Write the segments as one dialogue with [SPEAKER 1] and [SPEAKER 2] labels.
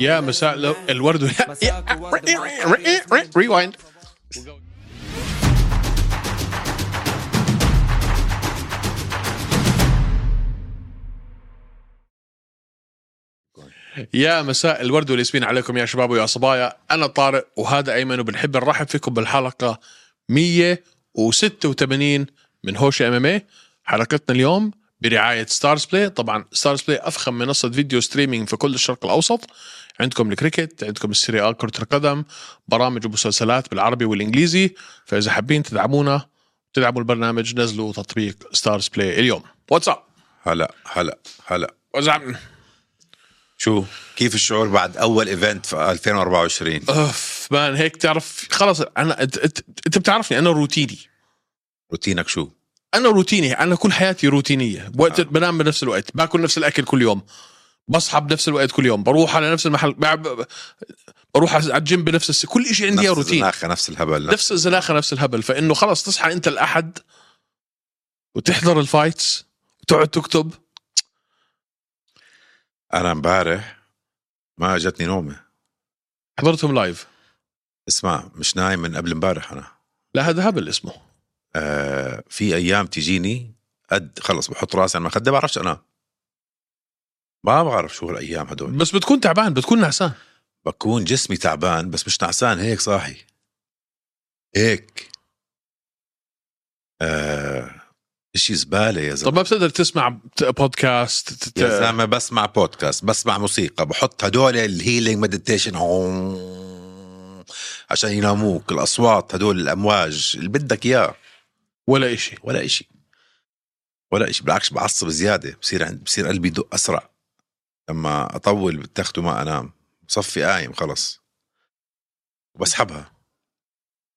[SPEAKER 1] يا مساء لو الورد eh, والنعناع. ريوايند يا مساء الورد والياسمين عليكم يا شباب ويا صبايا انا طارق وهذا ايمن وبنحب نرحب فيكم بالحلقه 186 من هوش ام ام إيه. حلقتنا اليوم برعايه ستارز بلاي طبعا ستارز بلاي افخم منصه فيديو ستريمينج في كل الشرق الاوسط عندكم الكريكت عندكم السيريال كره القدم برامج ومسلسلات بالعربي والانجليزي فاذا حابين تدعمونا تدعموا البرنامج نزلوا تطبيق ستارز بلاي اليوم واتساب
[SPEAKER 2] هلا هلا هلا
[SPEAKER 1] واتساب
[SPEAKER 2] شو كيف الشعور بعد اول ايفنت في 2024
[SPEAKER 1] اوف مان هيك تعرف خلص انا انت انت أنت بتعرفني انا روتيني
[SPEAKER 2] روتينك شو
[SPEAKER 1] انا روتيني انا كل حياتي روتينيه وقت آه. بنام بنفس الوقت باكل نفس الاكل كل يوم بصحى بنفس الوقت كل يوم بروح على نفس المحل بع- بروح على الجيم بنفس الس... كل شيء عندي
[SPEAKER 2] نفس
[SPEAKER 1] روتين
[SPEAKER 2] الزناخة، نفس الهبل نفس
[SPEAKER 1] نفس الزناخه نفس الهبل فانه خلص تصحى انت الاحد وتحضر الفايتس وتقعد تكتب
[SPEAKER 2] انا امبارح ما جتني نومه
[SPEAKER 1] حضرتهم لايف
[SPEAKER 2] اسمع مش نايم من قبل امبارح انا
[SPEAKER 1] لا هذا هبل اسمه
[SPEAKER 2] آه في ايام تجيني قد خلص بحط راسي على المخده بعرفش انا ما بعرف شو هالايام هدول
[SPEAKER 1] بس بتكون تعبان بتكون نعسان
[SPEAKER 2] بكون جسمي تعبان بس مش نعسان هيك صاحي هيك آه اشي زباله يا
[SPEAKER 1] طب
[SPEAKER 2] زلمه
[SPEAKER 1] ما بتقدر تسمع ت- بودكاست ت- ت-
[SPEAKER 2] يا زلمه بسمع بودكاست بسمع موسيقى بحط هدول الهيلينج مديتيشن عشان يناموك الاصوات هدول الامواج اللي بدك اياه
[SPEAKER 1] ولا إشي
[SPEAKER 2] ولا إشي ولا إشي بالعكس بعصب زيادة بصير عند بصير قلبي يدق أسرع لما أطول بتاخده ما أنام بصفي قايم خلص وبسحبها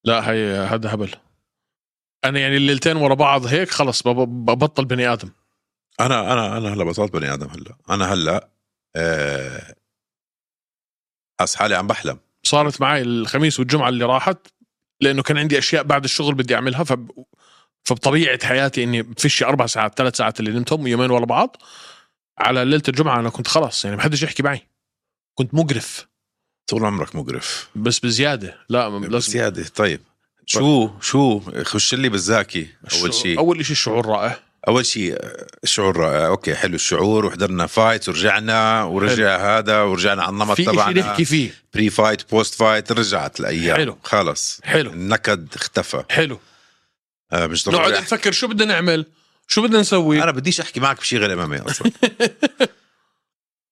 [SPEAKER 1] لا هي هذا هبل انا يعني الليلتين ورا بعض هيك خلص بب- ببطل بني ادم
[SPEAKER 2] أنا أنا أنا هلا بطلت بني آدم هلا أنا هلا آه، حاس حالي عم بحلم
[SPEAKER 1] صارت معي الخميس والجمعه اللي راحت لانه كان عندي اشياء بعد الشغل بدي اعملها فب... فبطبيعه حياتي اني بفش اربع ساعات ثلاث ساعات اللي نمتهم يومين ورا بعض على ليله الجمعه انا كنت خلص يعني ما حدش يحكي معي كنت مقرف
[SPEAKER 2] طول عمرك مقرف
[SPEAKER 1] بس بزياده لا لازم
[SPEAKER 2] زيادة طيب شو شو خش لي بالزاكي أول شيء
[SPEAKER 1] اول شيء الشعور رائع
[SPEAKER 2] اول شيء الشعور رائع اوكي حلو الشعور وحضرنا فايت ورجعنا ورجع هذا ورجعنا على النمط
[SPEAKER 1] في شيء
[SPEAKER 2] تبعنا
[SPEAKER 1] نحكي فيه
[SPEAKER 2] بري فايت بوست فايت رجعت الايام
[SPEAKER 1] حلو.
[SPEAKER 2] خلص
[SPEAKER 1] حلو
[SPEAKER 2] النكد اختفى
[SPEAKER 1] حلو
[SPEAKER 2] آه مش
[SPEAKER 1] نقعد
[SPEAKER 2] ضروري أحكي.
[SPEAKER 1] نفكر شو بدنا نعمل شو بدنا نسوي
[SPEAKER 2] انا بديش احكي معك بشيء غير امامي اصلا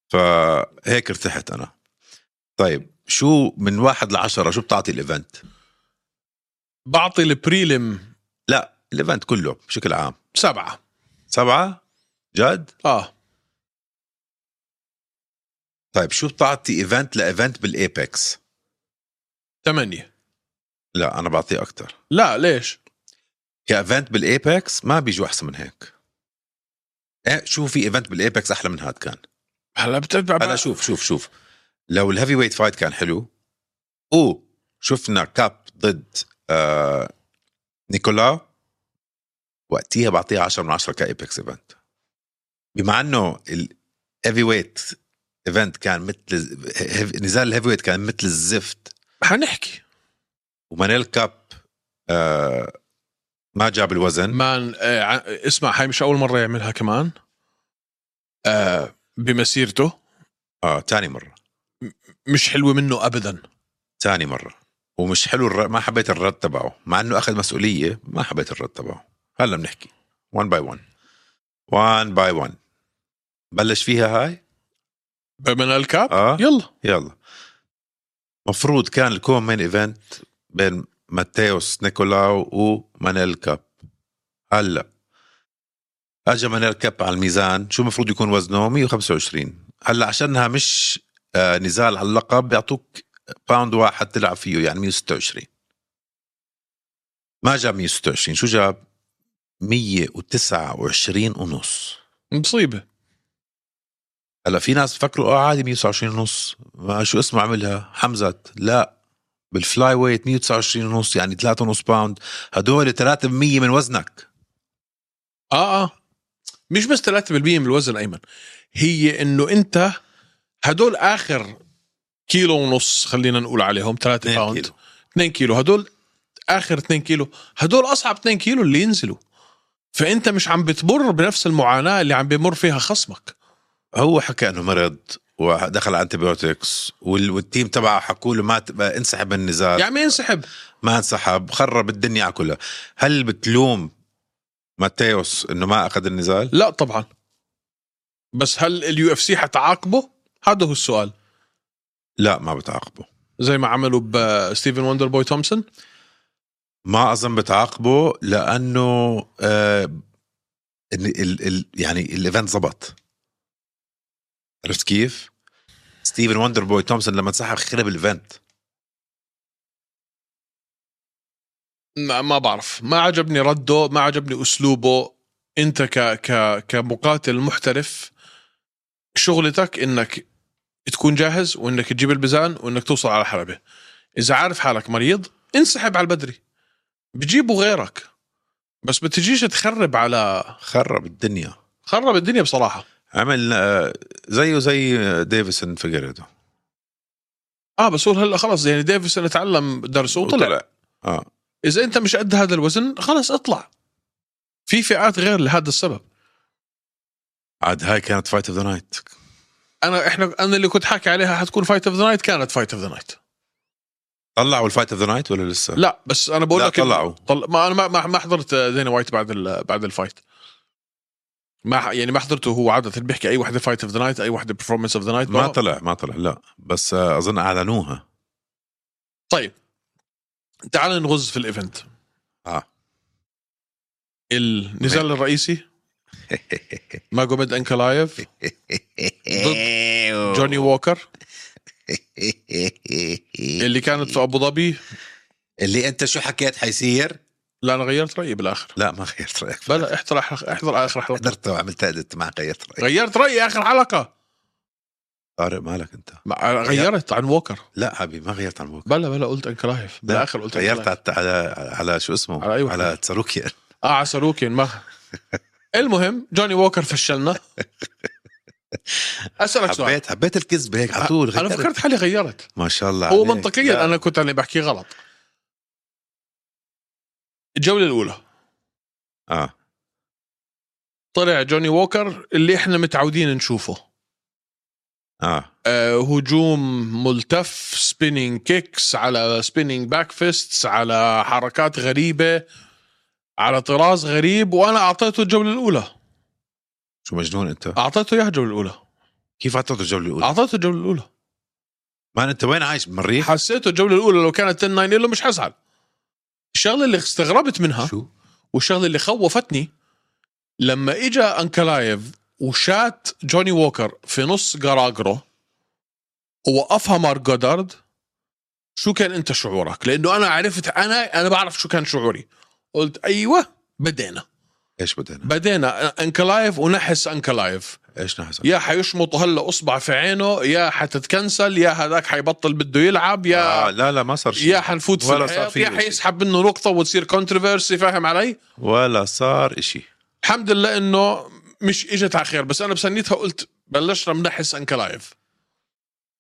[SPEAKER 2] فهيك ارتحت انا طيب شو من واحد لعشرة شو بتعطي الايفنت؟
[SPEAKER 1] بعطي البريلم
[SPEAKER 2] لا الايفنت كله بشكل عام
[SPEAKER 1] سبعه
[SPEAKER 2] سبعة جد؟
[SPEAKER 1] اه
[SPEAKER 2] طيب شو بتعطي ايفنت لايفنت بالايبكس؟
[SPEAKER 1] ثمانية
[SPEAKER 2] لا انا بعطيه اكثر
[SPEAKER 1] لا ليش؟
[SPEAKER 2] كايفنت بالايبكس ما بيجوا احسن من هيك ايه شو في ايفنت بالايبكس احلى من هاد كان
[SPEAKER 1] هلا بتتبع
[SPEAKER 2] هلا شوف شوف شوف لو الهيفي ويت فايت كان حلو او شفنا كاب ضد آه نيكولا وقتيها بعطيها 10 من 10 كايبكس ايفنت بما انه الهيفي ويت ايفنت كان مثل هيف- نزال الهيفي ويت كان مثل الزفت
[SPEAKER 1] حنحكي
[SPEAKER 2] ومانيل كاب آه ما جاب الوزن
[SPEAKER 1] مان آه ع- اسمع هاي مش اول مرة يعملها كمان آه بمسيرته
[SPEAKER 2] اه تاني مره
[SPEAKER 1] مش حلوة منه ابدا
[SPEAKER 2] تاني مرة ومش حلو الر... ما حبيت الرد تبعه مع انه اخذ مسؤولية ما حبيت الرد تبعه هلا بنحكي 1 باي 1 1 باي 1 بلش فيها هاي
[SPEAKER 1] بمن الكاب
[SPEAKER 2] اه
[SPEAKER 1] يلا
[SPEAKER 2] يلا مفروض كان الكوم مين ايفنت بين ماتيوس نيكولاو ومانيل كاب هلا اجى مانيل كاب على الميزان شو المفروض يكون وزنه 125 هلا عشانها مش آه، نزال على اللقب بيعطوك باوند واحد تلعب فيه يعني 126 ما جاب 126 شو جاب 129 ونص
[SPEAKER 1] مصيبة
[SPEAKER 2] هلا في ناس بفكروا اه عادي 129 ونص ما شو اسمه عملها حمزه لا بالفلاي ويت 129 ونص يعني 3 ونص باوند هدول 3% من وزنك
[SPEAKER 1] اه اه مش بس 3% من الوزن ايمن هي انه انت هدول اخر كيلو ونص خلينا نقول عليهم 3
[SPEAKER 2] 2
[SPEAKER 1] باوند
[SPEAKER 2] كيلو
[SPEAKER 1] 2 كيلو هدول اخر 2 كيلو هدول اصعب 2 كيلو اللي ينزلوا فانت مش عم بتمر بنفس المعاناه اللي عم بيمر فيها خصمك
[SPEAKER 2] هو حكى انه مرض ودخل على انتبيوتكس وال... والتيم تبعه حكوا له ما تبقى انسحب من النزال
[SPEAKER 1] يا عمي انسحب
[SPEAKER 2] ما انسحب خرب الدنيا على كلها هل بتلوم ماتيوس انه ما اخذ النزال
[SPEAKER 1] لا طبعا بس هل اليو اف سي حتعاقبه هذا هو السؤال
[SPEAKER 2] لا ما بتعاقبه
[SPEAKER 1] زي ما عملوا بستيفن وندر بوي تومسون
[SPEAKER 2] ما اظن بتعاقبه لانه آه ال ال ال يعني الايفنت زبط عرفت كيف؟ ستيفن وندر بوي تومسون لما انسحب خرب الايفنت
[SPEAKER 1] ما, ما بعرف ما عجبني رده ما عجبني اسلوبه انت ك ك كمقاتل محترف شغلتك انك تكون جاهز وانك تجيب البزان وانك توصل على الحلبه اذا عارف حالك مريض انسحب على البدري بجيبوا غيرك بس بتجيش تخرب على
[SPEAKER 2] خرب الدنيا
[SPEAKER 1] خرب الدنيا بصراحه
[SPEAKER 2] عمل آه، زيه زي ديفيسون فيجريدو
[SPEAKER 1] اه بس هو هلا خلص يعني ديفيسون اتعلم درسه وطلع
[SPEAKER 2] اه
[SPEAKER 1] اذا انت مش قد هذا الوزن خلص اطلع في فئات غير لهذا السبب
[SPEAKER 2] عاد هاي كانت فايت اوف ذا نايت
[SPEAKER 1] انا احنا انا اللي كنت حاكي عليها حتكون فايت اوف ذا نايت كانت فايت اوف ذا نايت
[SPEAKER 2] طلعوا الفايت اوف ذا نايت ولا لسه؟
[SPEAKER 1] لا بس انا بقول
[SPEAKER 2] لا،
[SPEAKER 1] لك
[SPEAKER 2] طلعوا.
[SPEAKER 1] طل... ما انا ما ما ما حضرت دينا وايت بعد ال... بعد الفايت ما ح- يعني ما حضرته هو عاده بيحكي اي وحده فايت اوف ذا نايت اي وحده برفورمانس اوف ذا نايت
[SPEAKER 2] ما طلع ما طلع لا بس آه، اظن اعلنوها
[SPEAKER 1] طيب تعال نغز في الايفنت
[SPEAKER 2] اه
[SPEAKER 1] النزال الرئيسي ماجوميد انكلايف جوني ووكر اللي كانت في ابو ظبي
[SPEAKER 2] اللي انت شو حكيت حيصير؟
[SPEAKER 1] لا انا غيرت رايي بالاخر
[SPEAKER 2] لا ما غيرت رايك
[SPEAKER 1] بلا احضر احضر اخر حلقه
[SPEAKER 2] قدرت وعملت ادت ما غيرت رايك
[SPEAKER 1] غيرت رايي اخر حلقه
[SPEAKER 2] طارق مالك انت
[SPEAKER 1] ما- غيرت عن ووكر
[SPEAKER 2] لا حبيبي ما غيرت عن بوك
[SPEAKER 1] بلا بلا قلت انكلايف
[SPEAKER 2] لا،
[SPEAKER 1] بالاخر قلت
[SPEAKER 2] غيرت
[SPEAKER 1] أنكلايف.
[SPEAKER 2] على على, على شو اسمه
[SPEAKER 1] على أيوة. أي واحد.
[SPEAKER 2] على تساروكيان
[SPEAKER 1] اه على سلوكين ما المهم جوني ووكر فشلنا اسالك سؤال
[SPEAKER 2] حبيت حبيت الكذبه هيك على طول
[SPEAKER 1] انا
[SPEAKER 2] غيرت.
[SPEAKER 1] فكرت حالي غيرت
[SPEAKER 2] ما شاء الله
[SPEAKER 1] هو
[SPEAKER 2] عليك. لا.
[SPEAKER 1] منطقيا انا كنت انا بحكي غلط الجوله الاولى
[SPEAKER 2] اه
[SPEAKER 1] طلع جوني ووكر اللي احنا متعودين نشوفه
[SPEAKER 2] اه
[SPEAKER 1] آه، هجوم ملتف سبيننج كيكس على سبيننج باك فيستس على حركات غريبه على طراز غريب وانا اعطيته الجوله الاولى
[SPEAKER 2] شو مجنون انت
[SPEAKER 1] اعطيته اياها الجوله الاولى
[SPEAKER 2] كيف اعطيته الجوله الاولى؟
[SPEAKER 1] اعطيته الجوله الاولى
[SPEAKER 2] ما انت وين عايش بالمريخ؟
[SPEAKER 1] حسيته الجوله الاولى لو كانت 10 9 له مش حزعل الشغله اللي استغربت منها
[SPEAKER 2] شو؟
[SPEAKER 1] والشغله اللي خوفتني لما اجى انكلايف وشات جوني ووكر في نص جراجرو ووقفها مارك جودارد شو كان انت شعورك؟ لانه انا عرفت انا انا بعرف شو كان شعوري قلت ايوه بدينا
[SPEAKER 2] ايش بدنا؟
[SPEAKER 1] بدينا انكلايف ونحس انكلايف
[SPEAKER 2] ايش نحس؟
[SPEAKER 1] يا حيشمط هلا اصبع في عينه يا حتتكنسل يا هذاك حيبطل بده يلعب يا
[SPEAKER 2] آه لا لا ما صار شيء
[SPEAKER 1] يا حنفوت في
[SPEAKER 2] ولا صار
[SPEAKER 1] الحيط
[SPEAKER 2] في
[SPEAKER 1] يا
[SPEAKER 2] شيء.
[SPEAKER 1] حيسحب منه نقطة وتصير كونتروفيرسي فاهم علي؟
[SPEAKER 2] ولا صار اشي
[SPEAKER 1] الحمد لله انه مش اجت على خير بس انا بسنيتها قلت بلشنا منحس انكلايف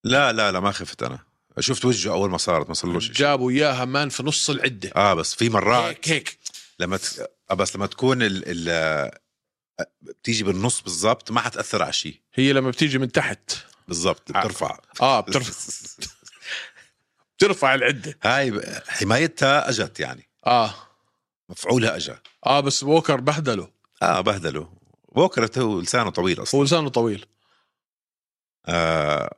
[SPEAKER 2] لا لا لا ما خفت انا شفت وجهه اول ما صارت ما صارلوش شيء
[SPEAKER 1] جابوا اياها مان في نص العدة
[SPEAKER 2] اه بس في مرات
[SPEAKER 1] هيك هيك
[SPEAKER 2] لما ت... آه بس لما تكون ال... ال... بتيجي بالنص بالضبط ما حتاثر على شيء
[SPEAKER 1] هي لما بتيجي من تحت
[SPEAKER 2] بالضبط
[SPEAKER 1] آه.
[SPEAKER 2] بترفع
[SPEAKER 1] اه بترفع بترفع العدة
[SPEAKER 2] هاي ب- حمايتها اجت يعني
[SPEAKER 1] اه
[SPEAKER 2] مفعولها اجى
[SPEAKER 1] اه بس ووكر بهدله
[SPEAKER 2] اه بهدله بكره هو لسانه طويل اصلا
[SPEAKER 1] هو لسانه طويل
[SPEAKER 2] آه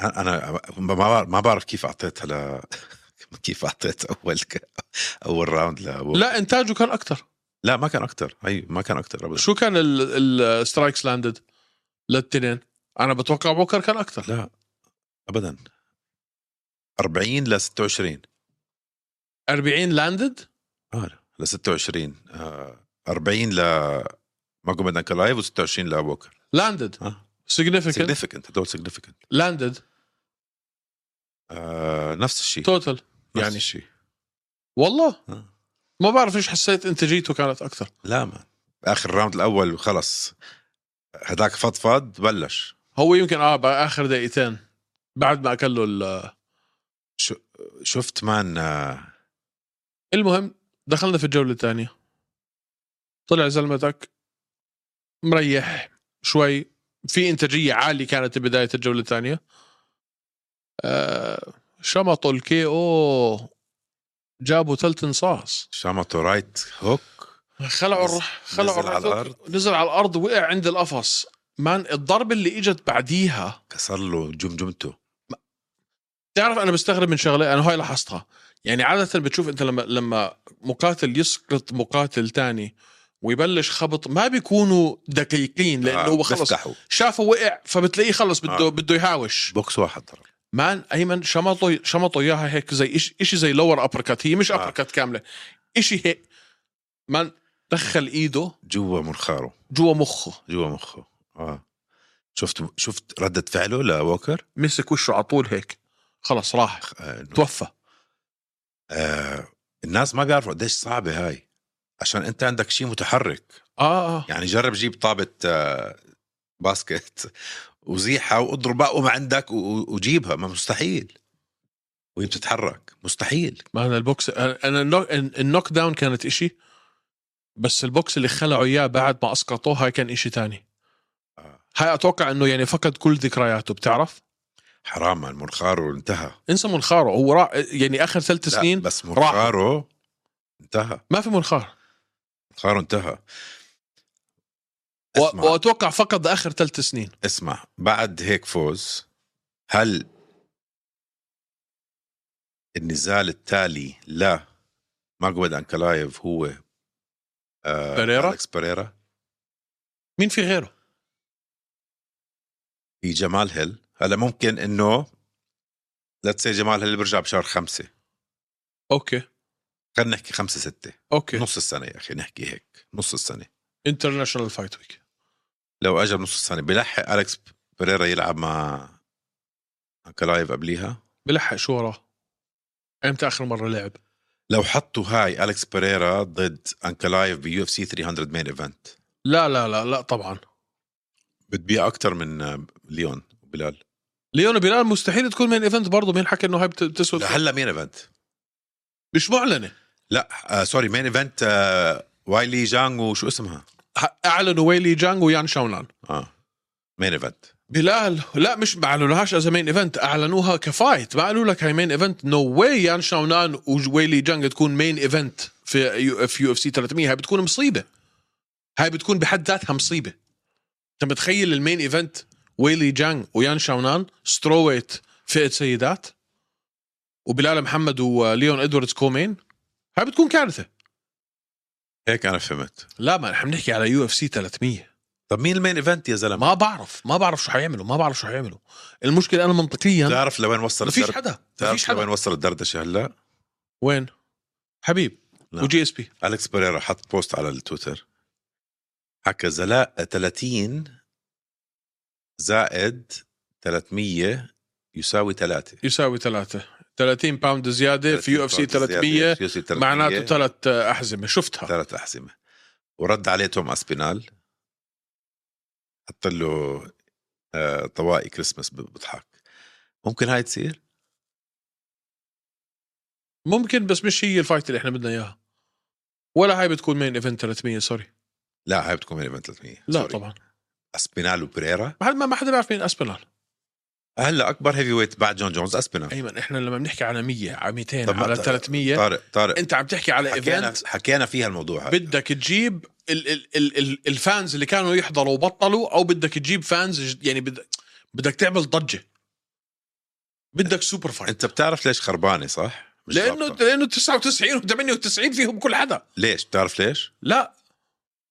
[SPEAKER 2] انا أنا ما بعرف- ما بعرف كيف اعطيتها ل كيف اعطيت اول ك... اول راوند ل
[SPEAKER 1] لا انتاجه كان اكثر
[SPEAKER 2] لا ما كان اكثر اي ما كان اكثر ابدا
[SPEAKER 1] شو كان السترايكس لاندد للتنين انا بتوقع بوكر كان اكثر
[SPEAKER 2] لا ابدا 40 ل 26
[SPEAKER 1] 40 لاندد
[SPEAKER 2] اه ل 26 آه 40 ل ماجوميد انكلايف و26 لبوكر
[SPEAKER 1] لاندد
[SPEAKER 2] اه
[SPEAKER 1] سيجنيفيكنت
[SPEAKER 2] سيجنفكنت هدول سيجنفكنت
[SPEAKER 1] لاندد
[SPEAKER 2] آه نفس الشيء
[SPEAKER 1] توتال
[SPEAKER 2] نفس
[SPEAKER 1] يعني.
[SPEAKER 2] الشيء
[SPEAKER 1] والله
[SPEAKER 2] آه.
[SPEAKER 1] ما بعرف ليش حسيت انتاجيته كانت اكثر
[SPEAKER 2] لا ما اخر الراوند الاول خلص هداك فضفض بلش
[SPEAKER 1] هو يمكن اه باخر دقيقتين بعد ما اكل له ال-
[SPEAKER 2] شفت مان آه،
[SPEAKER 1] المهم دخلنا في الجوله الثانيه طلع زلمتك مريح شوي في انتاجيه عاليه كانت بدايه الجوله الثانيه آه شمطوا الكي او جابوا ثلث انصاص
[SPEAKER 2] شمطه رايت هوك
[SPEAKER 1] خلعوا الر-
[SPEAKER 2] نزل-
[SPEAKER 1] خلعوا
[SPEAKER 2] نزل على
[SPEAKER 1] الركوك،
[SPEAKER 2] الأرض.
[SPEAKER 1] نزل على الارض وقع عند القفص مان الضربه اللي اجت بعديها
[SPEAKER 2] كسر له جمجمته
[SPEAKER 1] تعرف انا بستغرب من شغله انا هاي لاحظتها يعني عاده بتشوف انت لما لما مقاتل يسقط مقاتل تاني ويبلش خبط ما بيكونوا دقيقين لانه
[SPEAKER 2] آه،
[SPEAKER 1] هو خلص
[SPEAKER 2] بفكحوا.
[SPEAKER 1] شافه وقع فبتلاقيه خلص بده
[SPEAKER 2] آه.
[SPEAKER 1] بده يهاوش
[SPEAKER 2] بوكس واحد ترى
[SPEAKER 1] مان ايمن شمطه شمطه اياها هيك زي إش إشي زي لور ابركت هي مش
[SPEAKER 2] آه.
[SPEAKER 1] ابركت كامله إشي هيك مان دخل ايده
[SPEAKER 2] جوا منخاره
[SPEAKER 1] جوا مخه
[SPEAKER 2] جوا مخه اه شفت شفت ردة فعله لوكر
[SPEAKER 1] مسك وشه على طول هيك خلص راح
[SPEAKER 2] آه، إنه-
[SPEAKER 1] توفى
[SPEAKER 2] آه الناس ما بيعرفوا قديش صعبة هاي عشان انت عندك شيء متحرك
[SPEAKER 1] اه اه
[SPEAKER 2] يعني جرب جيب طابة آه باسكت وزيحها واضرب ما عندك و- و- وجيبها ما مستحيل وهي بتتحرك مستحيل
[SPEAKER 1] ما انا البوكس انا النو- النوك داون كانت اشي بس البوكس اللي خلعوا اياه بعد ما اسقطوه هاي كان اشي تاني
[SPEAKER 2] آه.
[SPEAKER 1] هاي اتوقع انه يعني فقد كل ذكرياته بتعرف
[SPEAKER 2] حرام عن منخاره انتهى
[SPEAKER 1] انسى منخاره هو راح يعني اخر ثلاث
[SPEAKER 2] لا،
[SPEAKER 1] سنين
[SPEAKER 2] بس منخاره انتهى
[SPEAKER 1] ما في منخار
[SPEAKER 2] منخاره انتهى
[SPEAKER 1] و-
[SPEAKER 2] اسمع.
[SPEAKER 1] واتوقع فقد اخر ثلاث سنين
[SPEAKER 2] اسمع بعد هيك فوز هل النزال التالي لا ماجود انكلايف هو آه
[SPEAKER 1] بريرا؟
[SPEAKER 2] أليكس بريرا
[SPEAKER 1] مين في غيره
[SPEAKER 2] في جمال هيل هلا ممكن انه لا تسي جمال هيل بيرجع بشهر خمسة
[SPEAKER 1] اوكي
[SPEAKER 2] خلينا نحكي خمسة ستة
[SPEAKER 1] اوكي
[SPEAKER 2] نص السنة يا أخي نحكي هيك نص السنة
[SPEAKER 1] انترناشونال فايت ويك
[SPEAKER 2] لو أجا بنص السنة بلحق أليكس بريرا يلعب مع انكلايف قبليها
[SPEAKER 1] بلحق شو وراه امتى اخر مره لعب
[SPEAKER 2] لو حطوا هاي أليكس بريرا ضد انكلايف بيو اف سي 300 مين ايفنت
[SPEAKER 1] لا لا لا لا طبعا
[SPEAKER 2] بتبيع اكثر من آه، ليون بلال
[SPEAKER 1] ليون بلال مستحيل تكون مين ايفنت برضه مين حكى انه هاي بت- بتسوى
[SPEAKER 2] لا، هلا مين ايفنت
[SPEAKER 1] مش معلنه
[SPEAKER 2] لا آه سوري مين ايفنت آه وايلي جانغ وشو اسمها
[SPEAKER 1] ح- اعلنوا ويلي جانغ ويان شاونان
[SPEAKER 2] اه مين ايفنت
[SPEAKER 1] بلال لا مش ما اعلنوهاش از مين ايفنت اعلنوها كفايت ما قالوا لك هاي مين ايفنت نو واي يان شاونان وويلي جانغ تكون مين ايفنت في يو في يو اف سي 300 هاي بتكون مصيبه هاي بتكون بحد ذاتها مصيبه انت متخيل المين ايفنت ويلي جانغ ويان شاونان سترويت فئه سيدات وبلال محمد وليون ادواردز كومين هاي بتكون كارثه
[SPEAKER 2] هيك انا فهمت
[SPEAKER 1] لا ما احنا بنحكي على يو اف سي 300
[SPEAKER 2] طب مين المين ايفنت يا زلمه
[SPEAKER 1] ما بعرف ما بعرف شو حيعملوا ما بعرف شو حيعملوا المشكله انا منطقيا
[SPEAKER 2] بتعرف لوين وصل
[SPEAKER 1] ما فيش
[SPEAKER 2] الدرد
[SPEAKER 1] حدا ما
[SPEAKER 2] بتعرف
[SPEAKER 1] فيش حدا
[SPEAKER 2] لوين وصل الدردشه هلا
[SPEAKER 1] وين حبيب
[SPEAKER 2] نعم.
[SPEAKER 1] وجي اس بي
[SPEAKER 2] اليكس بريرا حط بوست على التويتر حكى زلاء 30 زائد 300 يساوي 3
[SPEAKER 1] يساوي ثلاثة 30 باوند زيادة في يو اف سي 300 معناته ثلاث أحزمة شفتها
[SPEAKER 2] ثلاث أحزمة ورد عليه توم أسبينال حط له آه، طواقي كريسماس ب- بضحك ممكن هاي تصير
[SPEAKER 1] ممكن بس مش هي الفايت اللي احنا بدنا إياها ولا هاي بتكون مين ايفنت 300 سوري
[SPEAKER 2] لا هاي بتكون من ايفنت 300
[SPEAKER 1] لا
[SPEAKER 2] سوري.
[SPEAKER 1] طبعا
[SPEAKER 2] أسبينال وبريرا
[SPEAKER 1] ما حد ما حدا بيعرف مين اسبينال
[SPEAKER 2] هلا أكبر هيفي ويت بعد جون جونز أسبينال
[SPEAKER 1] ايمن احنا لما بنحكي على 100 على 200
[SPEAKER 2] طب ما
[SPEAKER 1] إيه، على
[SPEAKER 2] ت-
[SPEAKER 1] 300
[SPEAKER 2] طارق طارق
[SPEAKER 1] انت عم تحكي على
[SPEAKER 2] حكينا
[SPEAKER 1] ايفنت
[SPEAKER 2] حكينا فيها الموضوع هذا
[SPEAKER 1] بدك تجيب ال ال ال ال الفانز اللي كانوا يحضروا وبطلوا او بدك تجيب فانز جد- يعني بدك بدك تعمل ضجه بدك سوبر فايت
[SPEAKER 2] أنت بتعرف ليش خربانة صح؟ مش
[SPEAKER 1] لانه
[SPEAKER 2] ضابطة.
[SPEAKER 1] لانه 99 و98 فيهم كل حدا
[SPEAKER 2] ليش؟ بتعرف ليش؟
[SPEAKER 1] لا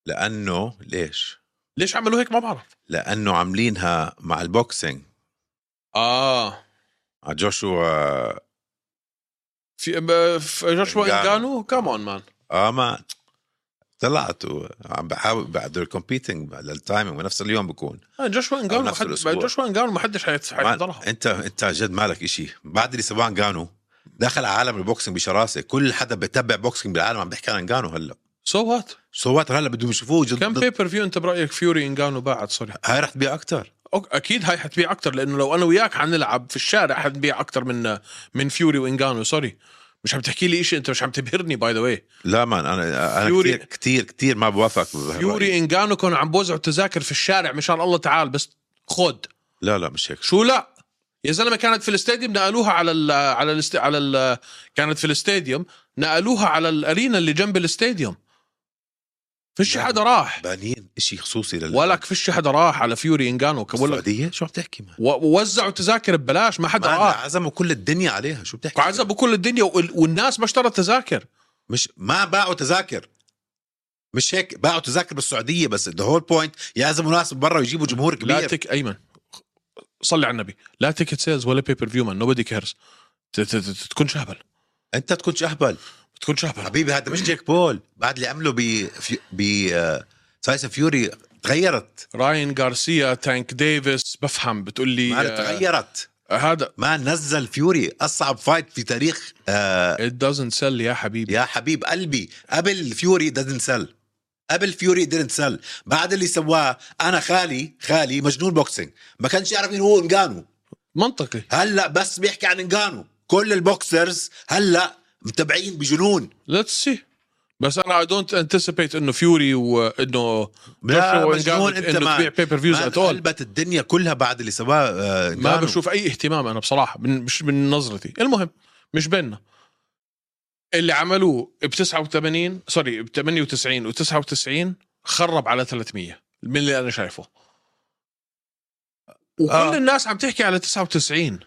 [SPEAKER 2] لأنه ليش؟
[SPEAKER 1] ليش عملوا هيك ما بعرف
[SPEAKER 2] لأنه عاملينها مع البوكسينج
[SPEAKER 1] اه
[SPEAKER 2] آه. مع جوشوا
[SPEAKER 1] في ب- في جوشوا
[SPEAKER 2] إنغانو.
[SPEAKER 1] انجانو كمان مان
[SPEAKER 2] اه ما طلعت وعم بحاول بعد الكومبيتنج للتايمينج بنفس اليوم بكون
[SPEAKER 1] آه، جوشوا انجانو
[SPEAKER 2] نفس
[SPEAKER 1] حد-
[SPEAKER 2] الأسبوع.
[SPEAKER 1] جوشوا انجانو ما حدش حيت-
[SPEAKER 2] ما-
[SPEAKER 1] حيحضرها
[SPEAKER 2] انت انت عن جد مالك إشي بعد اللي سواه انجانو دخل على عالم البوكسينج بشراسه كل حدا بتابع بوكسينج بالعالم عم بيحكي عن انجانو هلا
[SPEAKER 1] سو وات
[SPEAKER 2] صوت هلا بدهم يشوفوه جد
[SPEAKER 1] كم
[SPEAKER 2] ضد-
[SPEAKER 1] بيبر فيو انت برايك فيوري انجانو باعت سوري
[SPEAKER 2] هاي رح تبيع اكثر
[SPEAKER 1] أوك- اكيد هاي حتبيع اكثر لانه لو انا وياك حنلعب في الشارع حنبيع اكثر من من فيوري وانجانو سوري مش عم تحكي لي شيء انت مش عم تبهرني باي ذا واي
[SPEAKER 2] لا مان انا انا
[SPEAKER 1] فيوري-
[SPEAKER 2] كثير كثير كثير ما بوافق بهالرأي.
[SPEAKER 1] فيوري انجانو كانوا عم بوزعوا تذاكر في الشارع مشان الله تعال بس خد
[SPEAKER 2] لا لا مش هيك
[SPEAKER 1] شو لا يا زلمه كانت في الاستاديوم نقلوها على ال على ال على ال كانت في الاستاديوم نقلوها على الارينا اللي جنب الاستاديوم فيش
[SPEAKER 2] لا.
[SPEAKER 1] حدا راح
[SPEAKER 2] بانين شيء خصوصي لل
[SPEAKER 1] ولك فيش حدا راح على فيوري انجانو كبقول لك
[SPEAKER 2] السعوديه شو عم تحكي مان
[SPEAKER 1] و- ووزعوا تذاكر ببلاش ما حدا
[SPEAKER 2] مان،
[SPEAKER 1] راح
[SPEAKER 2] عزموا كل الدنيا عليها شو بتحكي
[SPEAKER 1] عذبوا كل الدنيا وال- والناس ما اشترت تذاكر
[SPEAKER 2] مش ما باعوا تذاكر مش هيك باعوا تذاكر بالسعوديه بس ذا هول بوينت يعزموا ناس من برا ويجيبوا جمهور
[SPEAKER 1] لا
[SPEAKER 2] كبير
[SPEAKER 1] تك ايمن صلي على النبي لا تيكت سيلز ولا بيبر فيو مان نوبدي كيرز تكون شهبل
[SPEAKER 2] انت تكونش اهبل
[SPEAKER 1] تكون شهبل
[SPEAKER 2] حبيبي هذا مش جيك بول بعد اللي عمله ب ب تايسون فيوري آه، تغيرت
[SPEAKER 1] راين غارسيا تانك ديفيس بفهم بتقول لي
[SPEAKER 2] مان
[SPEAKER 1] آه،
[SPEAKER 2] تغيرت
[SPEAKER 1] هذا
[SPEAKER 2] ما نزل فيوري اصعب فايت في تاريخ آه
[SPEAKER 1] it doesn't sell يا حبيبي
[SPEAKER 2] يا حبيب قلبي قبل فيوري دزنت سل قبل فيوري ديرنت سل بعد اللي سواه انا خالي خالي مجنون بوكسينج ما كانش يعرف مين هو انجانو
[SPEAKER 1] منطقي
[SPEAKER 2] هلا بس بيحكي عن انجانو كل البوكسرز هلا متابعين بجنون
[SPEAKER 1] let's see بس انا I don't anticipate انه فيوري وانه
[SPEAKER 2] لا
[SPEAKER 1] جوشوا
[SPEAKER 2] مجنون
[SPEAKER 1] وإنجانو
[SPEAKER 2] انت
[SPEAKER 1] انه تبيع
[SPEAKER 2] ما
[SPEAKER 1] بيبر فيوز
[SPEAKER 2] ما
[SPEAKER 1] ات اول
[SPEAKER 2] قلبت الدنيا كلها بعد اللي سواه آه،
[SPEAKER 1] ما
[SPEAKER 2] إنغانو.
[SPEAKER 1] بشوف اي اهتمام انا بصراحه من مش من نظرتي المهم مش بيننا اللي عملوه ب 89 سوري ب 98 و 99 خرب على 300 من اللي انا شايفه وكل
[SPEAKER 2] آه.
[SPEAKER 1] آه. الناس عم تحكي على 99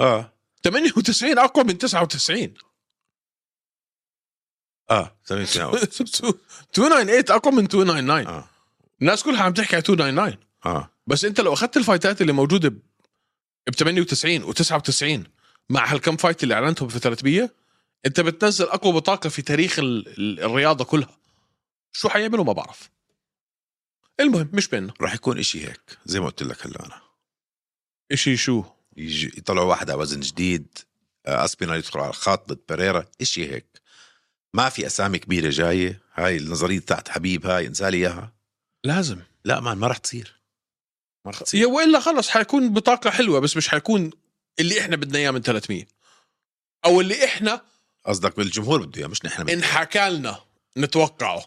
[SPEAKER 2] اه
[SPEAKER 1] 98 اقوى من 99
[SPEAKER 2] اه سميت شنو.
[SPEAKER 1] 298 اقوى من 299
[SPEAKER 2] اه
[SPEAKER 1] الناس كلها عم تحكي على 299
[SPEAKER 2] اه
[SPEAKER 1] بس انت لو اخذت الفايتات اللي موجوده ب 98 و99 مع هالكم فايت اللي اعلنتهم في 300 انت بتنزل اقوى بطاقه في تاريخ ال- ال- الرياضه كلها شو حيعملوا ما بعرف المهم مش بيننا
[SPEAKER 2] راح يكون إشي هيك زي ما قلت لك هلا انا
[SPEAKER 1] اشي شو
[SPEAKER 2] يجي يطلعوا واحد على وزن جديد آه، اسبينال يدخل على الخط ضد بريرا إشي هيك ما في اسامي كبيره جايه هاي النظريه تاعت حبيب هاي انسى لي اياها
[SPEAKER 1] لازم
[SPEAKER 2] لا مان ما راح تصير ما راح
[SPEAKER 1] يا والا خلص حيكون بطاقه حلوه بس مش حيكون اللي احنا بدنا اياه من 300 او اللي احنا
[SPEAKER 2] قصدك بالجمهور بده اياه مش نحن بده.
[SPEAKER 1] انحكى لنا نتوقعه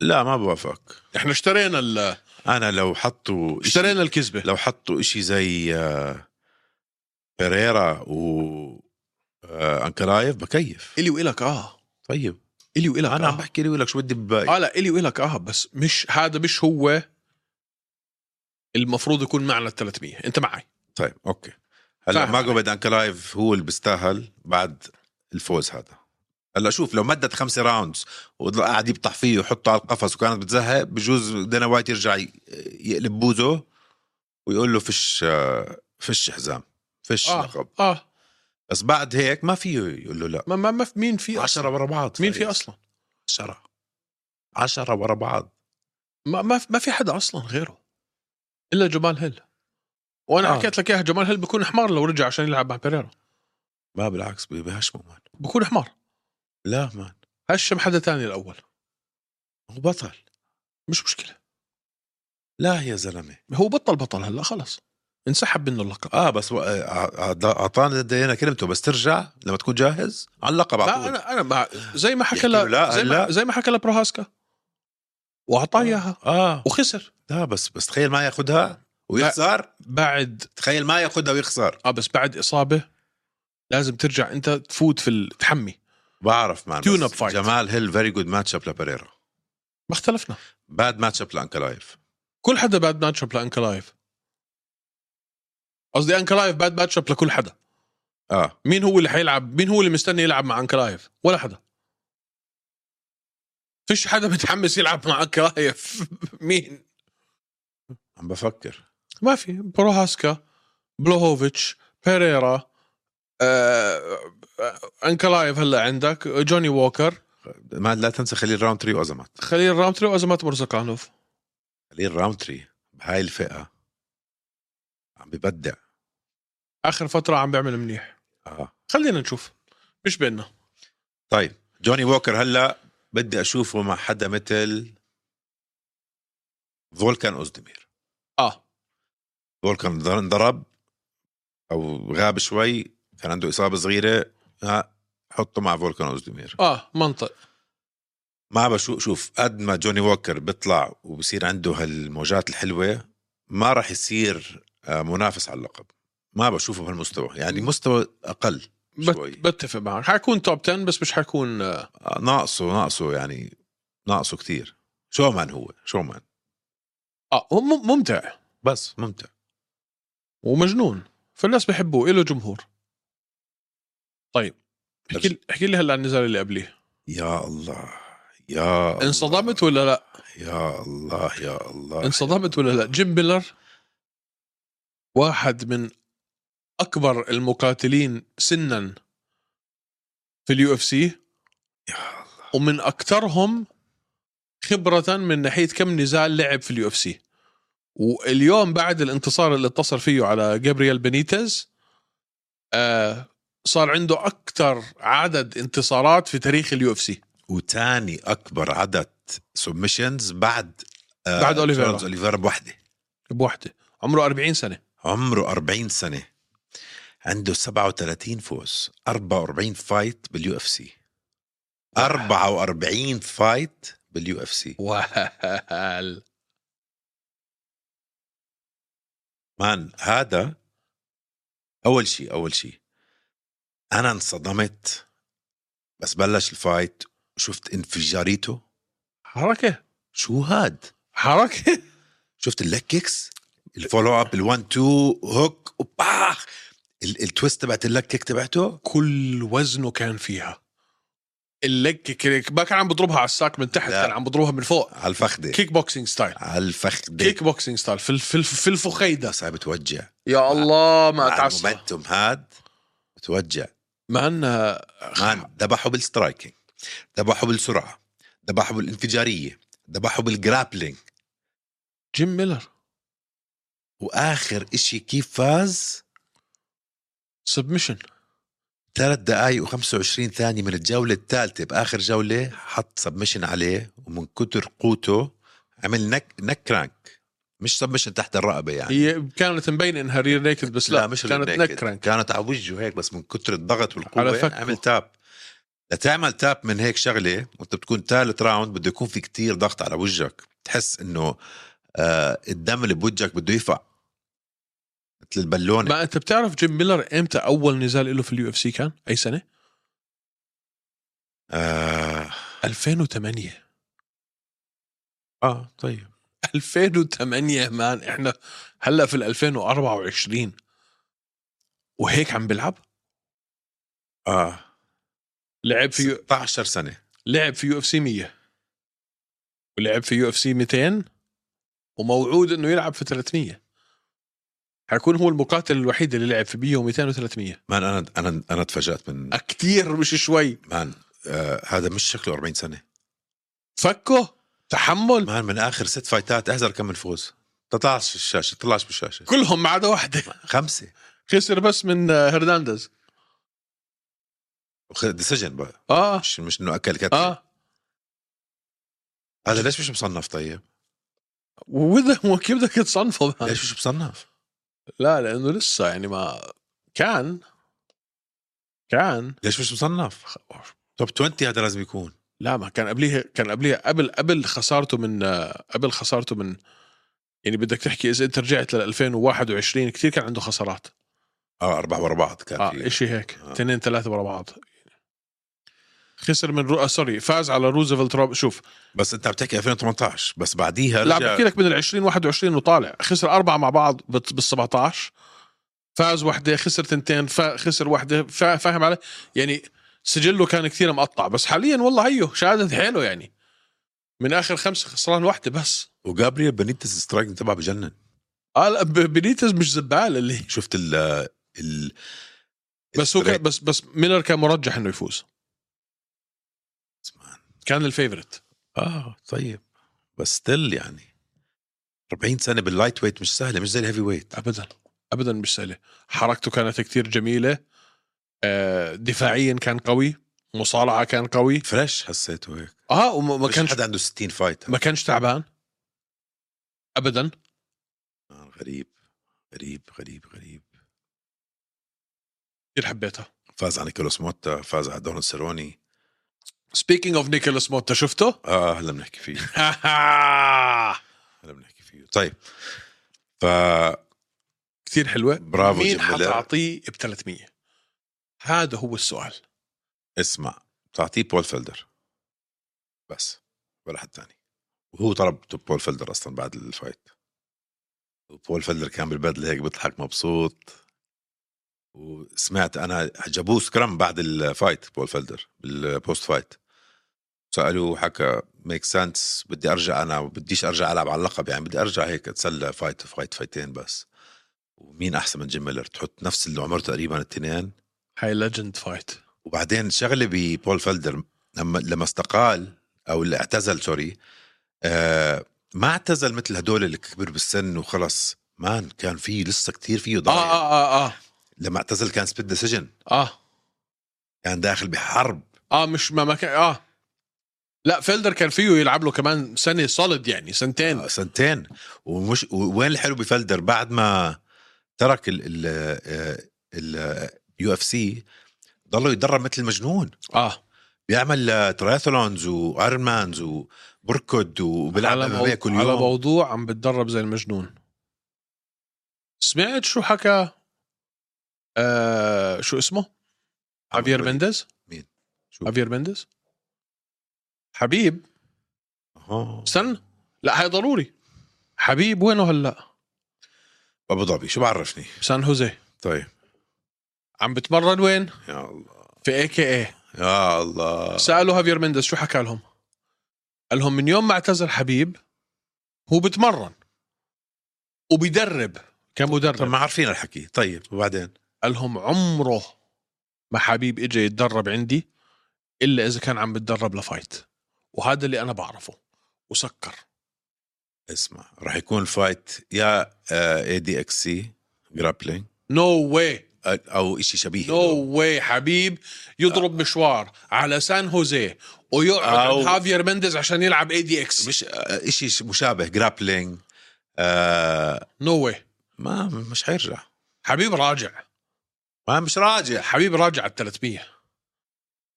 [SPEAKER 2] لا ما بوافق
[SPEAKER 1] احنا اشترينا ال-
[SPEAKER 2] انا لو حطوا إشي-
[SPEAKER 1] اشترينا الكذبه
[SPEAKER 2] لو حطوا إشي زي آه، بريرا و آه، انكلايف بكيف
[SPEAKER 1] الي والك اه
[SPEAKER 2] طيب آه.
[SPEAKER 1] الي والك
[SPEAKER 2] انا
[SPEAKER 1] آه.
[SPEAKER 2] عم بحكي لي ولك شو بدي بباقي
[SPEAKER 1] اه لا الي ولك اه بس مش هذا مش هو المفروض يكون معنا ال 300 انت معي
[SPEAKER 2] طيب اوكي هلا
[SPEAKER 1] فاهم
[SPEAKER 2] ما قبل انكلايف هو اللي بيستاهل بعد الفوز هذا هلا شوف لو مدت خمسة راوندز وقعد يبطح فيه ويحطه على القفص وكانت بتزهق بجوز دانا وايت يرجع ي- يقلب بوزه ويقول له فش آه، فش حزام فش آه. لقب
[SPEAKER 1] اه اه
[SPEAKER 2] بس بعد هيك ما فيه يقول له لا
[SPEAKER 1] ما ما, ما في مين في
[SPEAKER 2] عشرة
[SPEAKER 1] عشرة
[SPEAKER 2] ورا بعض طيب.
[SPEAKER 1] مين في اصلا؟
[SPEAKER 2] عشرة عشرة ورا بعض
[SPEAKER 1] ما ما في- ما في حدا اصلا غيره الا جمال هيل وانا
[SPEAKER 2] آه.
[SPEAKER 1] آه. حكيت لك اياها جمال هيل بيكون حمار لو رجع عشان يلعب مع بيريرا
[SPEAKER 2] ما بالعكس بي- بهشمه مان
[SPEAKER 1] بيكون حمار
[SPEAKER 2] لا مان
[SPEAKER 1] هشم حدا تاني الاول
[SPEAKER 2] هو بطل
[SPEAKER 1] مش مشكله
[SPEAKER 2] لا يا زلمه
[SPEAKER 1] هو بطل بطل هلا خلص انسحب منه اللقب
[SPEAKER 2] اه بس و- آه، آه، اعطانا دينا كلمته بس ترجع لما تكون جاهز على اللقب على
[SPEAKER 1] لا
[SPEAKER 2] طول
[SPEAKER 1] انا انا مع زي ما حكى
[SPEAKER 2] يحكي له
[SPEAKER 1] لا,
[SPEAKER 2] لا،
[SPEAKER 1] زي ما
[SPEAKER 2] لا.
[SPEAKER 1] زي ما حكى لبروهاسكا واعطاه اياها
[SPEAKER 2] اه
[SPEAKER 1] وخسر
[SPEAKER 2] لا بس بس تخيل ما ياخذها ويخسر
[SPEAKER 1] بعد
[SPEAKER 2] تخيل ما ياخذها ويخسر
[SPEAKER 1] اه بس بعد اصابه لازم ترجع انت تفوت في ال- تحمي
[SPEAKER 2] بعرف مان بس
[SPEAKER 1] Tune-up fight.
[SPEAKER 2] جمال هيل فيري جود ماتش اب لبريرا
[SPEAKER 1] ما اختلفنا
[SPEAKER 2] باد ماتش اب لانكلايف
[SPEAKER 1] كل حدا باد ماتش اب لانكلايف قصدي انكلايف باد ماتش اب لكل حدا
[SPEAKER 2] اه
[SPEAKER 1] مين هو اللي حيلعب مين هو اللي مستني يلعب مع انكلايف ولا حدا فيش حدا متحمس يلعب مع انكلايف مين
[SPEAKER 2] عم بفكر
[SPEAKER 1] ما في بروهاسكا بلوهوفيتش بيريرا آه آه، انكلايف هلا عندك جوني ووكر
[SPEAKER 2] ما لا تنسى خليل راوند 3 وازمات
[SPEAKER 1] خليل رامتري وازمات مرزقانوف
[SPEAKER 2] خليل راوند 3 بهاي الفئه عم ببدع
[SPEAKER 1] اخر فتره عم بيعمل منيح
[SPEAKER 2] اه
[SPEAKER 1] خلينا نشوف مش بيننا
[SPEAKER 2] طيب جوني ووكر هلا بدي اشوفه مع حدا مثل فولكان اوزدمير
[SPEAKER 1] اه
[SPEAKER 2] فولكان انضر- انضرب او غاب شوي كان عنده اصابه صغيره ها حطه مع فولكان اوزدمير
[SPEAKER 1] اه منطق
[SPEAKER 2] ما بشوف شوف قد ما جوني ووكر بيطلع وبصير عنده هالموجات الحلوه ما راح يصير آه، منافس على اللقب ما بشوفه بهالمستوى يعني مستوى اقل
[SPEAKER 1] بت...
[SPEAKER 2] شوي.
[SPEAKER 1] بتفق معك حيكون توب 10 بس مش حيكون آه،
[SPEAKER 2] آه، ناقصه ناقصه يعني ناقصه كتير شو مان هو شو مان
[SPEAKER 1] اه هو مم- ممتع
[SPEAKER 2] بس ممتع
[SPEAKER 1] ومجنون فالناس بحبوه له جمهور طيب احكي لي- احكي لي هلا عن النزال اللي قبليه
[SPEAKER 2] يا الله يا الله آه.
[SPEAKER 1] انصدمت ولا لا
[SPEAKER 2] يا الله يا الله
[SPEAKER 1] انصدمت ولا لا جيم بيلر واحد من اكبر المقاتلين سنا في اليو اف سي
[SPEAKER 2] يا الله
[SPEAKER 1] ومن اكثرهم خبره من ناحيه كم نزال لعب في اليو اف سي واليوم بعد الانتصار اللي انتصر فيه على جابرييل بينيتez آه صار عنده اكثر عدد انتصارات في تاريخ اليو اف سي
[SPEAKER 2] وتاني اكبر عدد سبمشنز بعد آه،
[SPEAKER 1] بعد أوليفيرا.
[SPEAKER 2] تشارلز اوليفيرا بوحده
[SPEAKER 1] بوحده عمره 40 سنه
[SPEAKER 2] عمره 40 سنه عنده 37 فوز 44 فايت باليو اف سي 44 فايت باليو اف سي
[SPEAKER 1] وهل
[SPEAKER 2] مان هذا اول شيء اول شيء انا انصدمت بس بلش الفايت شفت انفجاريته
[SPEAKER 1] حركه
[SPEAKER 2] شو هاد
[SPEAKER 1] حركه
[SPEAKER 2] شفت اللاك كيكس الفولو اب ال1 2 هوك وباخ ال- التويست تبعت اللاك كيك تبعته
[SPEAKER 1] كل وزنه كان فيها اللج كيك ما كان عم بضربها على الساك من تحت
[SPEAKER 2] لا. آه.
[SPEAKER 1] كان عم بضربها من فوق
[SPEAKER 2] على الفخده
[SPEAKER 1] كيك بوكسينج ستايل
[SPEAKER 2] على الفخده
[SPEAKER 1] كيك بوكسينج ستايل في في في الفخيده
[SPEAKER 2] بس هاي بتوجع
[SPEAKER 1] يا الله ما
[SPEAKER 2] مع
[SPEAKER 1] اتعصب
[SPEAKER 2] المومنتوم هاد بتوجع
[SPEAKER 1] مان
[SPEAKER 2] مان ذبحوا بالسترايكينج ذبحوا بالسرعه ذبحوا بالانفجاريه ذبحوا بالجرابلينج
[SPEAKER 1] جيم ميلر
[SPEAKER 2] واخر اشي كيف فاز
[SPEAKER 1] سبمشن
[SPEAKER 2] ثلاث دقائق و25 ثانية من الجولة الثالثة بآخر جولة حط سبمشن عليه ومن كتر قوته عمل نك نك رانك مش سبمشن تحت الرقبة يعني
[SPEAKER 1] هي كانت مبينه انها رير نيكد بس إيه، لا,
[SPEAKER 2] مش
[SPEAKER 1] كانت
[SPEAKER 2] النكد.
[SPEAKER 1] نك رانك
[SPEAKER 2] كانت على وجهه هيك بس من كتر الضغط
[SPEAKER 1] على
[SPEAKER 2] والقوة
[SPEAKER 1] فكه.
[SPEAKER 2] عمل تاب لتعمل تاب من هيك شغلة وانت بتكون ثالث راوند بده يكون في كتير ضغط على وجهك تحس انه آه الدم اللي بوجهك بده يفقع مثل البالونة
[SPEAKER 1] ما انت بتعرف جيم ميلر امتى اول نزال له في اليو اف سي كان اي سنه
[SPEAKER 2] آه.
[SPEAKER 1] 2008
[SPEAKER 2] اه طيب
[SPEAKER 1] 2008 مان احنا هلا في ال 2024 وهيك عم بيلعب
[SPEAKER 2] اه
[SPEAKER 1] لعب في
[SPEAKER 2] 16 سنة
[SPEAKER 1] لعب في يو اف سي 100 ولعب في يو اف سي 200 وموعود انه يلعب في 300 حيكون هو المقاتل الوحيد اللي لعب في 100 و200 و300
[SPEAKER 2] مان انا انا انا تفاجات من
[SPEAKER 1] كثير مش شوي
[SPEAKER 2] مان آه هذا مش شكله 40 سنه
[SPEAKER 1] فكه تحمل
[SPEAKER 2] مان من اخر ست فايتات احذر كم من فوز طلعش الشاشه طلعش بالشاشه
[SPEAKER 1] كلهم ما عدا واحده
[SPEAKER 2] خمسه
[SPEAKER 1] خسر بس من آه، هرنانديز
[SPEAKER 2] ديسيجن بقى
[SPEAKER 1] اه
[SPEAKER 2] مش مش انه اكل كتف
[SPEAKER 1] اه
[SPEAKER 2] هذا ليش مش مصنف طيب؟
[SPEAKER 1] وإذا كيف بدك تصنفه مان؟
[SPEAKER 2] ليش مش مصنف؟
[SPEAKER 1] لا لانه لسه يعني ما كان كان
[SPEAKER 2] ليش مش مصنف؟ توب 20 هذا لازم يكون
[SPEAKER 1] لا ما كان قبليها كان قبليها قبل قبل خسارته من آه، قبل خسارته من يعني بدك تحكي اذا انت رجعت ل 2021 كثير كان عنده خسارات
[SPEAKER 2] اه اربعه ورا بعض كان
[SPEAKER 1] اه
[SPEAKER 2] آه
[SPEAKER 1] شيء هيك
[SPEAKER 2] آه.
[SPEAKER 1] اثنين ثلاثه ورا بعض خسر من رو... آه، سوري فاز على روزفلت روب شوف
[SPEAKER 2] بس انت عم تحكي 2018 بس بعديها
[SPEAKER 1] لا
[SPEAKER 2] رجع
[SPEAKER 1] بحكي لك من ال 20 21 وطالع خسر اربعه مع بعض بال 17 فاز وحده خسر تنتين فا خسر وحده فا فاهم علي يعني سجله كان كثير مقطع بس حاليا والله هيو شهادة حيله يعني من اخر خمسه خسران وحده بس
[SPEAKER 2] وجابرييل بنيتس سترايك تبعه بجنن
[SPEAKER 1] آه لا، ب- بنيتز مش زبال اللي
[SPEAKER 2] شفت ال ال
[SPEAKER 1] بس هو كان بس بس ميلر كان مرجح انه يفوز كان الفيفورت
[SPEAKER 2] اه طيب بس ستيل يعني 40 سنه باللايت ويت مش سهله مش زي الهيفي ويت
[SPEAKER 1] ابدا ابدا مش سهله حركته كانت كثير جميله آه دفاعيا كان قوي مصارعه كان قوي
[SPEAKER 2] فريش حسيته هيك
[SPEAKER 1] اه وما ما
[SPEAKER 2] ما كانش
[SPEAKER 1] كانش
[SPEAKER 2] حدا عنده 60 فايت
[SPEAKER 1] ما كانش تعبان ابدا
[SPEAKER 2] آه، غريب غريب غريب غريب
[SPEAKER 1] كثير حبيتها
[SPEAKER 2] فاز على نيكولاس موتا فاز على دون سيروني
[SPEAKER 1] سبيكينج اوف نيكولاس موتا شفته؟
[SPEAKER 2] اه هلا بنحكي فيه هلا بنحكي فيه طيب ف
[SPEAKER 1] كثير حلوه
[SPEAKER 2] برافو
[SPEAKER 1] مين
[SPEAKER 2] جميلة.
[SPEAKER 1] حتعطيه ب 300 هذا هو السؤال
[SPEAKER 2] اسمع تعطيه بول فلدر بس ولا حد تاني وهو طلب بول فلدر اصلا بعد الفايت وبول فلدر كان بالبدله هيك بيضحك مبسوط وسمعت انا جابوه سكرام بعد الفايت بول فلدر بالبوست فايت سالوه حكى ميك سنس بدي ارجع انا بديش ارجع العب على اللقب يعني بدي ارجع هيك اتسلى فايت فايت فايتين بس ومين احسن من جيم ميلر تحط نفس اللي عمره تقريبا الاثنين
[SPEAKER 1] هاي ليجند فايت
[SPEAKER 2] وبعدين شغله ببول فلدر لما لما استقال او اللي اعتزل سوري آه ما اعتزل مثل هدول اللي كبر بالسن وخلص مان كان في لسه كتير فيه
[SPEAKER 1] اه
[SPEAKER 2] ضايع
[SPEAKER 1] اه اه اه
[SPEAKER 2] لما اعتزل كان سبيد ديسيجن
[SPEAKER 1] اه
[SPEAKER 2] كان داخل بحرب
[SPEAKER 1] اه مش ما, ما كان اه لا فيلدر كان فيه يلعب له كمان سنه صلد يعني سنتين
[SPEAKER 2] آه، سنتين ومش وين الحلو بفلدر بعد ما ترك ال آه، ال اليو اف سي ضله يتدرب مثل المجنون
[SPEAKER 1] اه
[SPEAKER 2] بيعمل آه، تراثلونز وايرون مانز وبركض وبيلعب
[SPEAKER 1] على,
[SPEAKER 2] MMA كل
[SPEAKER 1] مو... على
[SPEAKER 2] يوم
[SPEAKER 1] موضوع عم بتدرب زي المجنون سمعت شو حكى آه شو اسمه؟ هافير مينديز
[SPEAKER 2] شو؟
[SPEAKER 1] هافير مينديز حبيب
[SPEAKER 2] أها.
[SPEAKER 1] استنى لا هاي ضروري حبيب وينه هلا؟
[SPEAKER 2] ابو ظبي شو بعرفني
[SPEAKER 1] سان خوزيه
[SPEAKER 2] طيب
[SPEAKER 1] عم بتمرن وين؟
[SPEAKER 2] يا الله
[SPEAKER 1] في اي كي اي
[SPEAKER 2] يا الله
[SPEAKER 1] سالوا هافير مينديز شو حكى لهم؟ قال لهم من يوم ما اعتزل حبيب هو بتمرن وبيدرب كان
[SPEAKER 2] طب
[SPEAKER 1] مدرب
[SPEAKER 2] ما عارفين الحكي طيب وبعدين
[SPEAKER 1] قال لهم عمره ما حبيب اجى يتدرب عندي الا اذا كان عم بتدرب لفايت وهذا اللي انا بعرفه وسكر
[SPEAKER 2] اسمع راح يكون فايت يا آه، اي دي اكس سي جرابلينج
[SPEAKER 1] نو واي
[SPEAKER 2] او شيء آه، شبيه له.
[SPEAKER 1] نو واي حبيب يضرب مشوار على سان هوزيه ويقعد
[SPEAKER 2] أو-
[SPEAKER 1] عند هافير مندز عشان يلعب اي دي اكس
[SPEAKER 2] مش شيء مشابه جرابلينج آه
[SPEAKER 1] نو واي
[SPEAKER 2] ما مش حيرجع
[SPEAKER 1] حبيب راجع
[SPEAKER 2] ما مش راجع
[SPEAKER 1] حبيب راجع على 300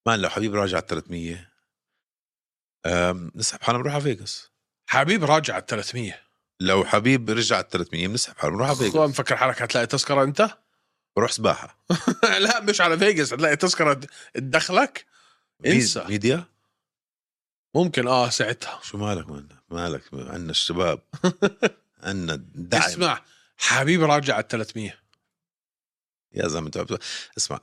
[SPEAKER 2] ما لو حبيب راجع على 300 آم، نسحب حالنا بنروح على فيغاس
[SPEAKER 1] حبيب راجع على 300
[SPEAKER 2] لو حبيب رجع على 300 بنسحب حالنا بنروح على
[SPEAKER 1] خو
[SPEAKER 2] فيغاس
[SPEAKER 1] مفكر حالك هتلاقي تذكره انت؟
[SPEAKER 2] بروح سباحه
[SPEAKER 1] لا مش على فيجاس هتلاقي تذكره د- تدخلك انسى.
[SPEAKER 2] ميد- ميديا
[SPEAKER 1] ممكن اه ساعتها
[SPEAKER 2] شو مالك من مالك عندنا الشباب عندنا دعم اسمع
[SPEAKER 1] اسمع حبيب راجع على 300
[SPEAKER 2] يا زلمه انت بت- اسمع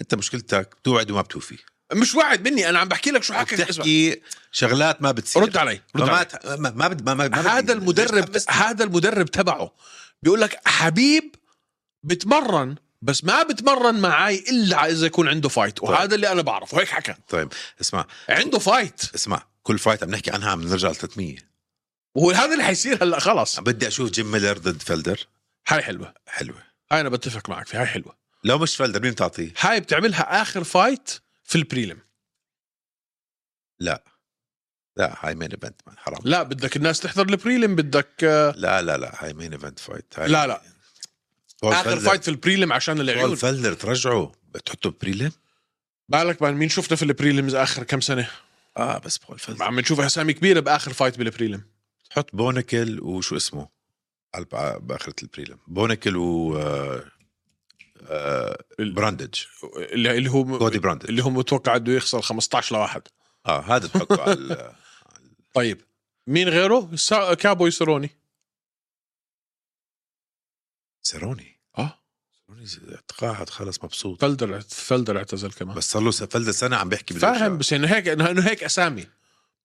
[SPEAKER 2] انت مشكلتك بتوعد وما بتوفي
[SPEAKER 1] مش واعد مني انا عم بحكي لك شو حكى اسمع.
[SPEAKER 2] بتحكي شغلات ما بتصير
[SPEAKER 1] رد علي رد
[SPEAKER 2] ما
[SPEAKER 1] علي
[SPEAKER 2] ت- ما ما بد- ما, ما, ما بدي-
[SPEAKER 1] هذا
[SPEAKER 2] ليش
[SPEAKER 1] المدرب
[SPEAKER 2] تحمسني؟
[SPEAKER 1] هذا المدرب تبعه بيقول لك حبيب بتمرن بس ما بتمرن معاي الا اذا يكون عنده فايت وهذا اللي انا بعرفه هيك حكى
[SPEAKER 2] طيب اسمع
[SPEAKER 1] عنده فايت
[SPEAKER 2] اسمع كل فايت عم نحكي عنها عم نرجع ل 300
[SPEAKER 1] وهذا اللي حيصير هلا خلص
[SPEAKER 2] بدي اشوف جيم ميلر ضد فلدر
[SPEAKER 1] هاي حلوه
[SPEAKER 2] حلوه
[SPEAKER 1] هاي انا بتفق معك فيها هاي حلوه
[SPEAKER 2] لو مش فلدر مين بتعطيه؟
[SPEAKER 1] هاي بتعملها اخر فايت في البريلم
[SPEAKER 2] لا لا هاي مين ايفنت مان حرام
[SPEAKER 1] لا بدك الناس تحضر البريلم بدك آه،
[SPEAKER 2] لا لا لا هاي مين ايفنت فايت هاي
[SPEAKER 1] لا، لا.
[SPEAKER 2] بول
[SPEAKER 1] اخر
[SPEAKER 2] فلدر-
[SPEAKER 1] فايت في البريلم عشان
[SPEAKER 2] بول
[SPEAKER 1] العيون
[SPEAKER 2] فلدر ترجعه بتحطه بريلم
[SPEAKER 1] بالك بقى مين شفنا في البريلمز اخر كم سنه آه،
[SPEAKER 2] اه بس بول فلدر
[SPEAKER 1] عم نشوف اسامي كبيره باخر فايت بالبريلم
[SPEAKER 2] تحط بونكل وشو اسمه على الب- باخره البريلم بونكل و آه، آه، براندج
[SPEAKER 1] اللي اللي هو
[SPEAKER 2] كودي براندج
[SPEAKER 1] اللي هو متوقع انه يخسر 15 لواحد
[SPEAKER 2] اه هذا تحطه على ال-
[SPEAKER 1] طيب مين غيره سا... كابو يسروني
[SPEAKER 2] سيروني
[SPEAKER 1] اه
[SPEAKER 2] سيروني تقاعد خلص مبسوط
[SPEAKER 1] فلدر فلدر اعتزل كمان
[SPEAKER 2] بس صار له س- فلدر سنه عم بيحكي بده
[SPEAKER 1] فاهم
[SPEAKER 2] يرجع.
[SPEAKER 1] بس انه هيك انه إنه هيك اسامي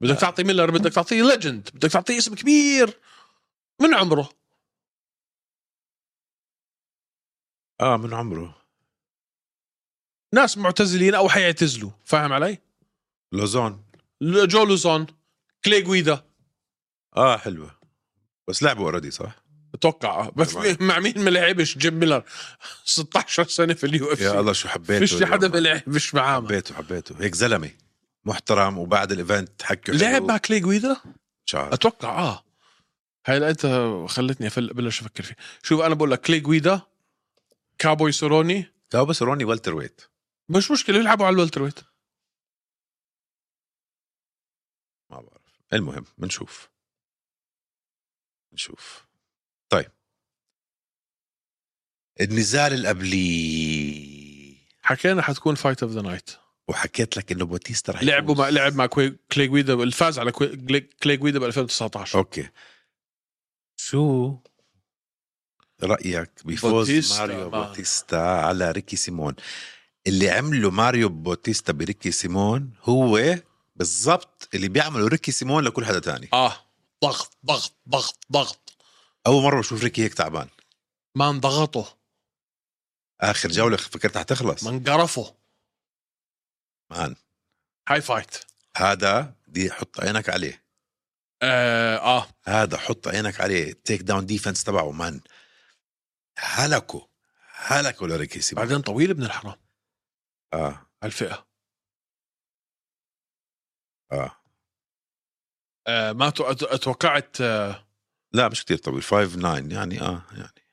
[SPEAKER 1] بدك تعطي ميلر بدك تعطيه ليجند بدك تعطيه اسم كبير من عمره
[SPEAKER 2] اه من عمره
[SPEAKER 1] ناس معتزلين او حيعتزلوا فاهم علي
[SPEAKER 2] لوزون
[SPEAKER 1] ل- جو لوزون كلي جويدا
[SPEAKER 2] اه حلوه بس لعبوا اوريدي صح؟
[SPEAKER 1] اتوقع آه. بس
[SPEAKER 2] طبعاً.
[SPEAKER 1] مع مين ما لعبش جيم ميلر 16 سنه في اليو اف
[SPEAKER 2] يا
[SPEAKER 1] سي
[SPEAKER 2] الله شو حبيته
[SPEAKER 1] فيش
[SPEAKER 2] اليوم.
[SPEAKER 1] حدا ما لعبش معاه
[SPEAKER 2] حبيته حبيته هيك زلمه محترم وبعد الايفنت حكوا
[SPEAKER 1] لعب
[SPEAKER 2] حلو.
[SPEAKER 1] مع كلي جويدا
[SPEAKER 2] شعر
[SPEAKER 1] اتوقع اه هاي لقيتها خلتني أفل- بلش افكر فيه شوف انا بقول لك كلي جويدا كابوي سوروني
[SPEAKER 2] كاوبس روني والتر ويت
[SPEAKER 1] مش مشكله يلعبوا على الولتر ويت
[SPEAKER 2] ما بعرف المهم بنشوف بنشوف طيب النزال القبلي
[SPEAKER 1] حكينا حتكون فايت اوف ذا نايت
[SPEAKER 2] أيوة. وحكيت لك انه بوتيستا رح
[SPEAKER 1] لعبوا مع
[SPEAKER 2] يفوز.
[SPEAKER 1] لعب مع كوي... كلي جويدا الفاز على كوي... كلي- كلي جويدا ب 2019
[SPEAKER 2] اوكي شو رايك بفوز
[SPEAKER 1] بوتيستا،
[SPEAKER 2] ماريو
[SPEAKER 1] مان.
[SPEAKER 2] بوتيستا على ريكي سيمون اللي عمله ماريو بوتيستا بريكي سيمون هو بالضبط اللي بيعمله ريكي سيمون لكل حدا تاني
[SPEAKER 1] اه ضغط ضغط ضغط ضغط
[SPEAKER 2] اول مره بشوف ريكي هيك تعبان
[SPEAKER 1] ما انضغطوا
[SPEAKER 2] اخر جوله فكرت حتخلص
[SPEAKER 1] ما انقرفوا
[SPEAKER 2] مان
[SPEAKER 1] هاي فايت
[SPEAKER 2] هذا دي حط عينك عليه
[SPEAKER 1] اه, آه.
[SPEAKER 2] هذا حط عينك عليه التيك داون ديفنس تبعه مان هلكوا هلكوا لريكي سيمون
[SPEAKER 1] بعدين طويل ابن الحرام
[SPEAKER 2] اه
[SPEAKER 1] هالفئه
[SPEAKER 2] اه
[SPEAKER 1] آه ما تو- أت- اتوقعت آه،
[SPEAKER 2] لا مش كتير طويل 5 9 يعني اه يعني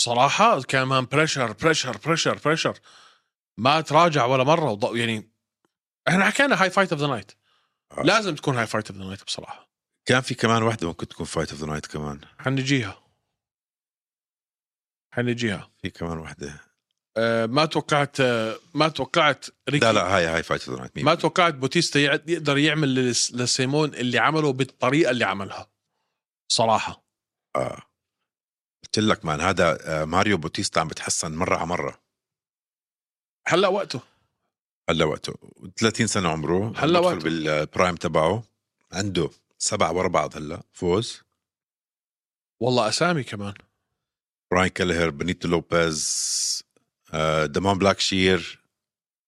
[SPEAKER 1] صراحه كان مان بريشر بريشر بريشر بريشر ما تراجع ولا مره وض... يعني احنا حكينا هاي فايت اوف ذا نايت
[SPEAKER 2] آه.
[SPEAKER 1] لازم تكون هاي فايت اوف ذا نايت بصراحه
[SPEAKER 2] كان في كمان واحدة ممكن تكون فايت اوف ذا نايت كمان
[SPEAKER 1] حنجيها حنجيها
[SPEAKER 2] في كمان واحدة
[SPEAKER 1] آه ما توقعت آه ما توقعت ريكي
[SPEAKER 2] لا لا هاي هاي فايت اوف ذا نايت
[SPEAKER 1] ما توقعت بوتيستا يع- يقدر يعمل لس- لسيمون اللي عمله بالطريقه اللي عملها صراحه
[SPEAKER 2] آه. قلت لك مان هذا آه ماريو بوتيستا عم بتحسن مرة على مرة
[SPEAKER 1] هلا وقته
[SPEAKER 2] هلا وقته 30 سنة عمره
[SPEAKER 1] هلا
[SPEAKER 2] عم بدخل
[SPEAKER 1] وقته.
[SPEAKER 2] بالبرايم تبعه عنده سبعة ورا بعض هلا فوز
[SPEAKER 1] والله اسامي كمان
[SPEAKER 2] براين كالهر بنيتو لوبيز آه دمون بلاك شير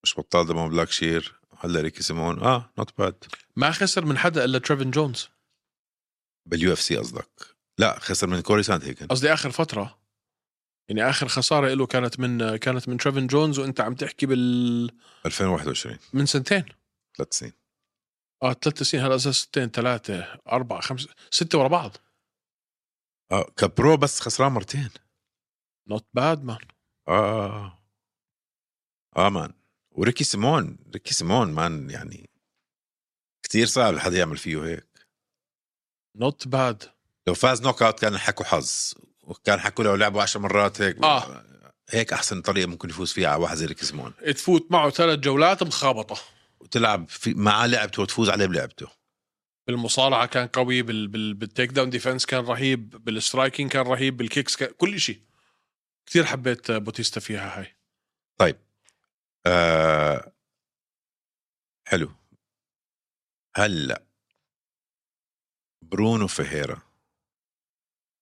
[SPEAKER 2] مش بطال دمون بلاك شير هلا ريكي سيمون اه نوت باد
[SPEAKER 1] ما خسر من حدا الا تريفن جونز
[SPEAKER 2] باليو اف سي قصدك لا خسر من كوري ساند هيكن
[SPEAKER 1] قصدي اخر فتره يعني اخر خساره له كانت من كانت من تريفن جونز وانت عم تحكي بال
[SPEAKER 2] 2021
[SPEAKER 1] من سنتين
[SPEAKER 2] ثلاث سنين
[SPEAKER 1] اه ثلاث سنين هلا صار سنتين ثلاثه اربعه خمسه سته ورا بعض
[SPEAKER 2] اه كبرو بس خسران مرتين
[SPEAKER 1] نوت باد مان
[SPEAKER 2] اه اه اه اه مان وريكي سيمون ريكي سيمون مان يعني كثير صعب حدا يعمل فيه هيك
[SPEAKER 1] نوت باد
[SPEAKER 2] لو فاز نوك اوت كان حكوا حظ وكان حكوا لو لعبوا 10 مرات هيك
[SPEAKER 1] آه.
[SPEAKER 2] هيك احسن طريقه ممكن يفوز فيها على واحد زي ريكي سيمون
[SPEAKER 1] تفوت معه ثلاث جولات مخابطه
[SPEAKER 2] وتلعب في معاه لعبته وتفوز عليه بلعبته
[SPEAKER 1] بالمصارعه كان قوي بال... بال... بالتيك داون ديفense كان رهيب بالسترايكينج كان رهيب بالكيكس كان... كل شيء كثير حبيت بوتيستا فيها هاي
[SPEAKER 2] آه حلو هلا برونو فيهيرا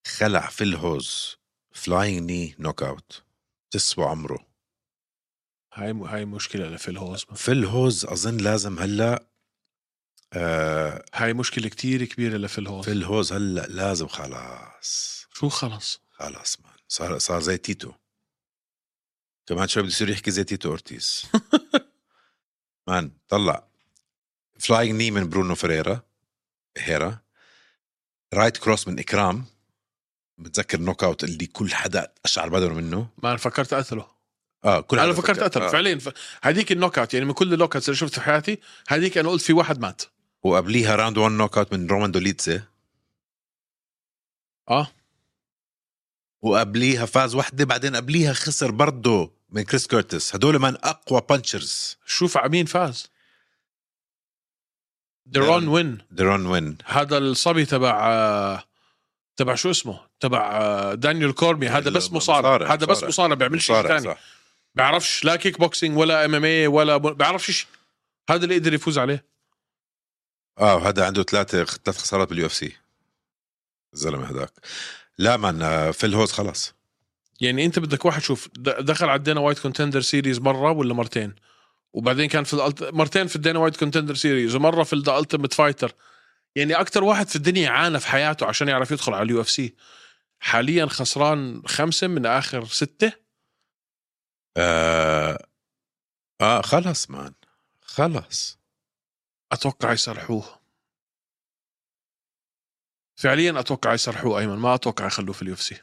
[SPEAKER 2] خلع في الهوز فلاينج ني نوك اوت تسوى عمره
[SPEAKER 1] هاي م... هاي مشكله لفيل هوز
[SPEAKER 2] في الهوز اظن لازم هلا آه
[SPEAKER 1] هاي مشكله كتير كبيره لفيل هوز
[SPEAKER 2] في الهوز هلا لازم خلاص
[SPEAKER 1] شو خلص
[SPEAKER 2] خلاص مان صار صار زي تيتو كمان شوي بده يصير يحكي زي تيتو اورتيز مان طلع فلاينج ني من برونو فريرا هيرا رايت كروس من اكرام بتذكر نوك اوت اللي كل حدا اشعر بدنه منه
[SPEAKER 1] ما انا فكرت اقتله
[SPEAKER 2] اه كل
[SPEAKER 1] انا
[SPEAKER 2] حدا
[SPEAKER 1] فكرت قتل آه.
[SPEAKER 2] آه.
[SPEAKER 1] فعليا ف... هذيك النوك اوت يعني من كل النوك اوتس اللي شفته في حياتي هذيك انا قلت في واحد مات
[SPEAKER 2] وقبليها راوند 1 نوك اوت من رومان دوليتسي
[SPEAKER 1] اه
[SPEAKER 2] وقبليها فاز وحده بعدين قبليها خسر برضه من كريس كورتس هدول من اقوى بانشرز
[SPEAKER 1] شوف ع- مين فاز
[SPEAKER 2] ديرون. نعم.
[SPEAKER 1] ديرون وين
[SPEAKER 2] درون وين
[SPEAKER 1] هذا الصبي تبع آه، تبع شو اسمه تبع آه، دانيال كورمي هذا بس مصارع
[SPEAKER 2] مصارع،
[SPEAKER 1] هذا بس
[SPEAKER 2] مصارع.
[SPEAKER 1] مصارع بيعمل شيء
[SPEAKER 2] مصارع،
[SPEAKER 1] ثاني
[SPEAKER 2] صح.
[SPEAKER 1] بيعرفش لا كيك بوكسينج ولا ام ام اي ولا ب- بيعرفش شيء هذا اللي قدر يفوز عليه
[SPEAKER 2] اه وهذا عنده ثلاثة ثلاث خسارات باليو اف سي الزلمة هذاك لا مان آه، في الهوز خلاص
[SPEAKER 1] يعني انت بدك واحد شوف د- دخل على الدينا وايت كونتندر سيريز مره ولا مرتين وبعدين كان في الألت... مرتين في الدينا وايت كونتندر سيريز ومره في ذا التيمت فايتر يعني اكثر واحد في الدنيا عانى في حياته عشان يعرف يدخل على اليو اف سي حاليا خسران خمسه من اخر سته
[SPEAKER 2] آه, اه خلاص مان خلاص
[SPEAKER 1] اتوقع يصلحوه فعليا اتوقع يسرحوه ايمن ما اتوقع يخلوه في اليوف سي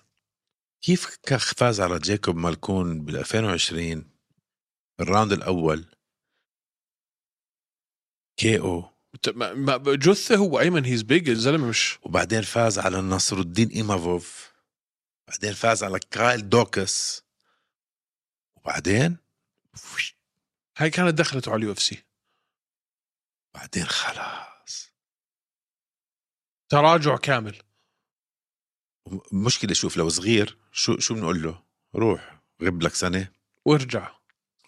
[SPEAKER 2] كيف كخ فاز على جاكوب مالكون بال 2020 الراوند الاول كي او
[SPEAKER 1] جثه هو ايمن هيز بيج الزلمه مش
[SPEAKER 2] وبعدين فاز على نصر الدين ايمافوف بعدين فاز على كايل دوكس وبعدين
[SPEAKER 1] هاي كانت دخلته على اليو اف سي
[SPEAKER 2] بعدين خلاص
[SPEAKER 1] تراجع كامل
[SPEAKER 2] مشكلة شوف لو صغير شو شو بنقول له؟ روح غب لك سنة
[SPEAKER 1] وارجع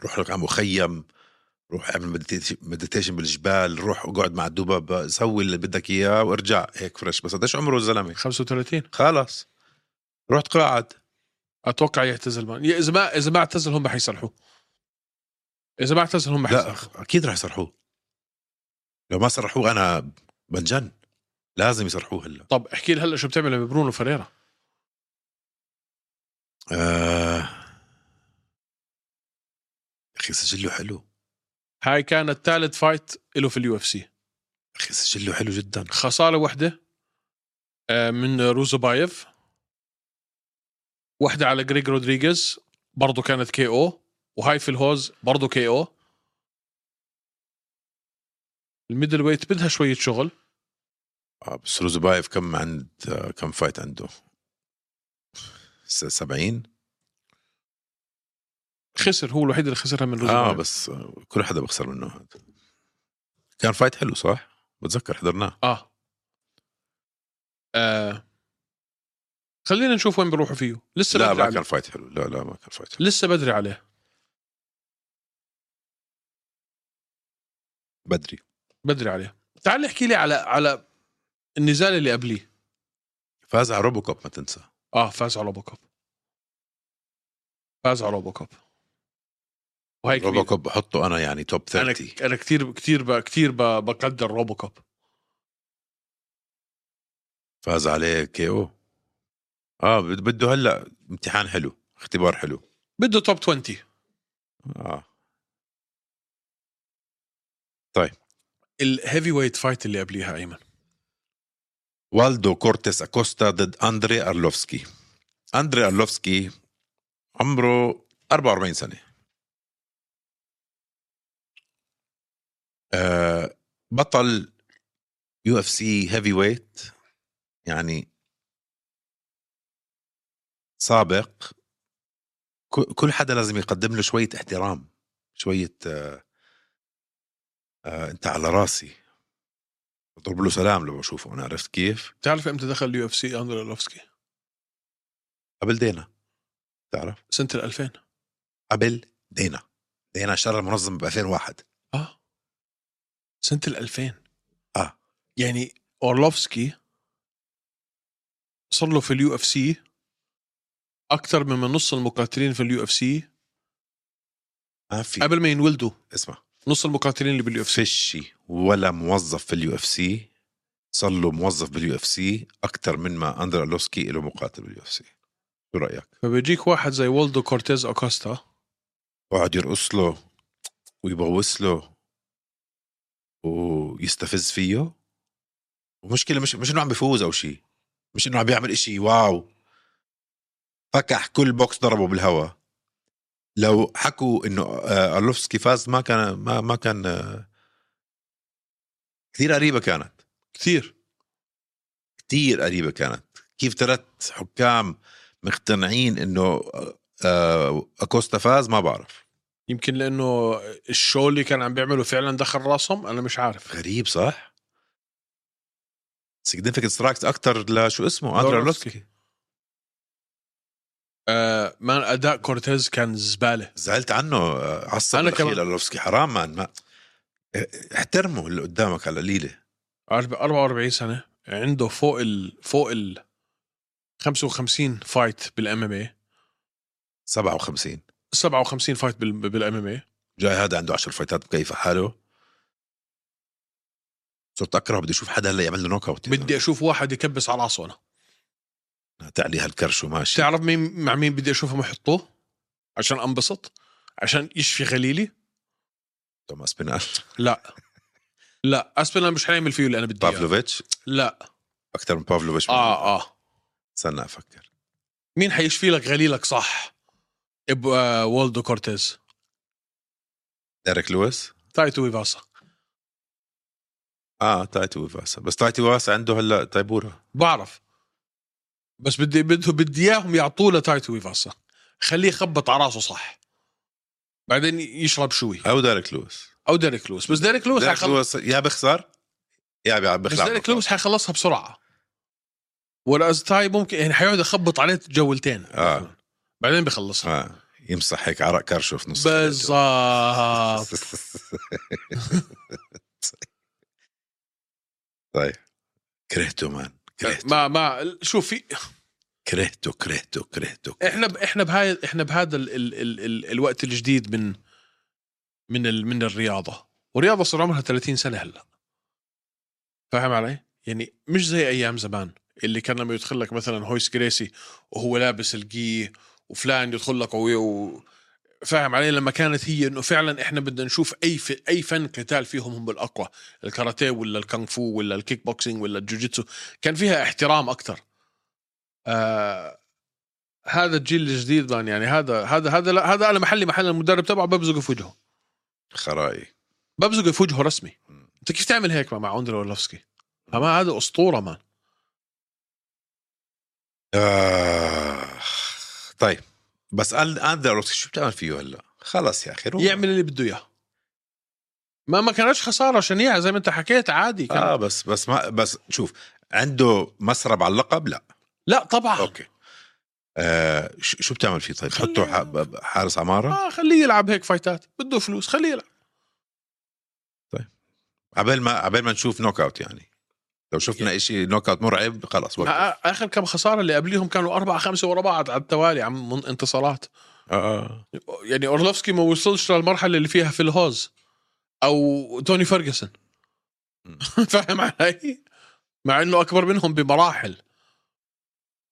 [SPEAKER 2] روح لك على مخيم روح اعمل مديتيشن- مديتيشن بالجبال روح اقعد مع الدبب سوي اللي بدك اياه وارجع هيك فريش بس قديش عمره الزلمة
[SPEAKER 1] 35
[SPEAKER 2] خلص روح تقاعد
[SPEAKER 1] اتوقع يعتزل ما يا اذا ما اذا ما اعتزل هم حيصلحوه اذا ما اعتزل هم
[SPEAKER 2] لا
[SPEAKER 1] حيصلحوه
[SPEAKER 2] اكيد رح يصرحوه لو ما صرحوه انا بنجن لازم يصرحوه هلا
[SPEAKER 1] طب احكي لي هلا شو بتعمل لما برونو فريرا
[SPEAKER 2] آه. يا اخي سجله حلو
[SPEAKER 1] هاي كانت ثالث فايت له في اليو اف سي
[SPEAKER 2] يا اخي سجله حلو جدا
[SPEAKER 1] خساره واحده آه، من روزوبايف واحده على جريج رودريغيز برضه كانت كي او وهاي في الهوز برضه كي او الميدل ويت بدها شويه شغل
[SPEAKER 2] آه بس روزبايف كم عند آه كم فايت عنده؟ س- 70
[SPEAKER 1] خسر هو الوحيد اللي خسرها من
[SPEAKER 2] اه
[SPEAKER 1] روزوبايف
[SPEAKER 2] بس آه، كل حدا بخسر منه هذا كان فايت حلو صح؟ بتذكر حضرناه
[SPEAKER 1] اه, آه. خلينا نشوف وين بيروحوا فيه لسه
[SPEAKER 2] لا
[SPEAKER 1] بدري
[SPEAKER 2] ما
[SPEAKER 1] عليه.
[SPEAKER 2] كان فايت حلو لا لا ما كان فايت حلو
[SPEAKER 1] لسه بدري عليه
[SPEAKER 2] بدري
[SPEAKER 1] بدري عليه تعال احكي لي على على النزال اللي قبليه
[SPEAKER 2] فاز على روبو كوب ما تنسى
[SPEAKER 1] اه فاز على روبو كوب فاز على روبو كوب وهي
[SPEAKER 2] روبو
[SPEAKER 1] كبيرة.
[SPEAKER 2] كوب بحطه انا يعني توب
[SPEAKER 1] انا
[SPEAKER 2] 30
[SPEAKER 1] انا كثير كثير ب... كثير ب... بقدر روبو كوب
[SPEAKER 2] فاز عليه كي او اه بد- بده هلا امتحان حلو اختبار حلو
[SPEAKER 1] بده توب 20
[SPEAKER 2] اه
[SPEAKER 1] الهيفي ويت فايت اللي قبليها ايمن
[SPEAKER 2] والدو كورتيس اكوستا ضد اندري ارلوفسكي اندري ارلوفسكي عمره 44 سنه آه بطل يو اف سي هيفي ويت يعني سابق ك- كل حدا لازم يقدم له شويه احترام شويه آه آه انت على راسي بضرب له سلام لو بشوفه انا عرفت كيف؟
[SPEAKER 1] بتعرف امتى دخل اليو اف سي اندري أرلوفسكي
[SPEAKER 2] قبل دينا تعرف
[SPEAKER 1] سنه ال 2000
[SPEAKER 2] قبل دينا دينا اشترى المنظمة ب 2001
[SPEAKER 1] اه سنه ال 2000
[SPEAKER 2] اه
[SPEAKER 1] يعني اورلوفسكي صار له في اليو اف سي اكثر من من نص المقاتلين في اليو اف سي
[SPEAKER 2] ما في
[SPEAKER 1] قبل ما ينولدوا
[SPEAKER 2] اسمع
[SPEAKER 1] نص المقاتلين اللي باليو اف سي
[SPEAKER 2] فيش ولا موظف في اليو اف سي صار له موظف باليو اف سي اكثر من ما اندر لوسكي له مقاتل باليو اف سي شو رايك؟
[SPEAKER 1] فبيجيك واحد زي والدو كورتيز اوكاستا
[SPEAKER 2] وقعد يرقص له ويبوس له ويستفز فيه ومشكلة مش مش انه عم بفوز او شيء مش انه عم بيعمل اشي واو فكح كل بوكس ضربه بالهواء لو حكوا انه آه، ارلوفسكي فاز ما كان ما ما كان آه، كثير قريبة كانت
[SPEAKER 1] كثير
[SPEAKER 2] كتير قريبة كانت كيف ثلاث حكام مقتنعين انه آه، اكوستا فاز ما بعرف
[SPEAKER 1] يمكن لانه الشو اللي كان عم بيعمله فعلا دخل راسهم انا مش عارف
[SPEAKER 2] غريب صح؟ significant سترايكس اكثر لشو اسمه اندرا لوسكي
[SPEAKER 1] أورلوفسكي. آه مان اداء كورتيز كان زباله
[SPEAKER 2] زعلت عنه آه، عصب
[SPEAKER 1] أنا
[SPEAKER 2] انا كمان
[SPEAKER 1] كمان.
[SPEAKER 2] لوسكي حرام مان ما آه، احترمه اللي قدامك على القليله
[SPEAKER 1] عارف 44 سنه عنده فوق ال فوق ال 55 فايت بالام ام اي
[SPEAKER 2] 57
[SPEAKER 1] 57 فايت بالام ام اي
[SPEAKER 2] جاي هذا عنده 10 فايتات بكيف حاله صرت اكره بدي اشوف حدا هلا يعمل له نوك اوت
[SPEAKER 1] بدي اشوف واحد يكبس على راسه انا
[SPEAKER 2] تعلي هالكرش وماشي
[SPEAKER 1] بتعرف مين مع مين بدي اشوفهم يحطوه عشان انبسط عشان يشفي غليلي
[SPEAKER 2] توماس بينال
[SPEAKER 1] لا لا اسبينال مش حيعمل فيه اللي انا بدي اياه
[SPEAKER 2] بافلوفيتش
[SPEAKER 1] لا
[SPEAKER 2] اكثر من بافلوفيتش
[SPEAKER 1] اه اه
[SPEAKER 2] استنى افكر
[SPEAKER 1] مين حيشفي لك غليلك صح؟ ابو آه والدو كورتيز
[SPEAKER 2] ديريك لويس
[SPEAKER 1] تايتو ويفاسا
[SPEAKER 2] اه تايتي ويفاسا بس تايتي ويفاسا عنده هلا تايبورا
[SPEAKER 1] بعرف بس بدي بده بدي اياهم يعطوه لتايتو ويفاسا خليه يخبط على راسه صح بعدين يشرب شوي
[SPEAKER 2] او ديريك لويس
[SPEAKER 1] او ديريك لويس بس ديريك لويس
[SPEAKER 2] ديريك
[SPEAKER 1] حيخل-
[SPEAKER 2] لويس يا بخسر يا بيع-
[SPEAKER 1] بس
[SPEAKER 2] بخلع
[SPEAKER 1] ديريك لويس حيخلصها بسرعه ولا تاي ممكن يعني حيقعد يخبط عليه جولتين
[SPEAKER 2] آه.
[SPEAKER 1] بعدين بخلصها
[SPEAKER 2] آه. يمسح هيك عرق كرشف نص
[SPEAKER 1] بالظبط
[SPEAKER 2] طيب كرهته مان كرهته
[SPEAKER 1] ما ما شوف في
[SPEAKER 2] كرهته كرهته كرهته
[SPEAKER 1] احنا ب... احنا بهاي احنا بهذا ال... ال... ال... ال... الوقت الجديد من من ال... من الرياضه والرياضه صار عمرها 30 سنه هلا فاهم علي يعني مش زي ايام زمان اللي كان لما يدخل لك مثلا هويس جريسي وهو لابس الجي وفلان يدخل لك وي- و... فاهم علي لما كانت هي انه فعلا احنا بدنا نشوف اي ف... اي فن قتال فيهم هم الاقوى الكاراتيه ولا الكونغ فو ولا الكيك بوكسينج ولا الجوجيتسو كان فيها احترام اكثر آه... هذا الجيل الجديد مان يعني هذا هذا هذا لا هذا انا محلي محل المدرب تبعه ببزقه في وجهه
[SPEAKER 2] خرائي
[SPEAKER 1] ببزقه في وجهه رسمي انت كيف تعمل هيك مع عندر اورلوفسكي؟ ما هذا اسطوره مان
[SPEAKER 2] آه. طيب بس أن- اندر روكسي شو بتعمل فيه هلا؟ خلص يا اخي روح.
[SPEAKER 1] يعمل اللي بده اياه ما ما كانش خساره شنيعه زي ما انت حكيت عادي كان.
[SPEAKER 2] اه بس بس ما بس شوف عنده مسرب على اللقب لا
[SPEAKER 1] لا طبعا أوكي.
[SPEAKER 2] اوكي آه ش- شو بتعمل فيه طيب؟
[SPEAKER 1] خليه-
[SPEAKER 2] حطه ح- حارس عماره؟
[SPEAKER 1] آه خليه يلعب هيك فايتات بده فلوس خليه يلعب
[SPEAKER 2] عبال ما عبال ما نشوف نوك اوت يعني لو شفنا إشي نوك اوت مرعب خلص وقف.
[SPEAKER 1] آه، اخر كم خساره اللي قبليهم كانوا اربعه خمسه ورا بعض على التوالي عم من انتصارات
[SPEAKER 2] آه.
[SPEAKER 1] يعني اورلوفسكي ما وصلش للمرحله اللي فيها في الهوز او توني فيرجسون
[SPEAKER 2] مم.
[SPEAKER 1] فاهم علي؟ مع انه اكبر منهم بمراحل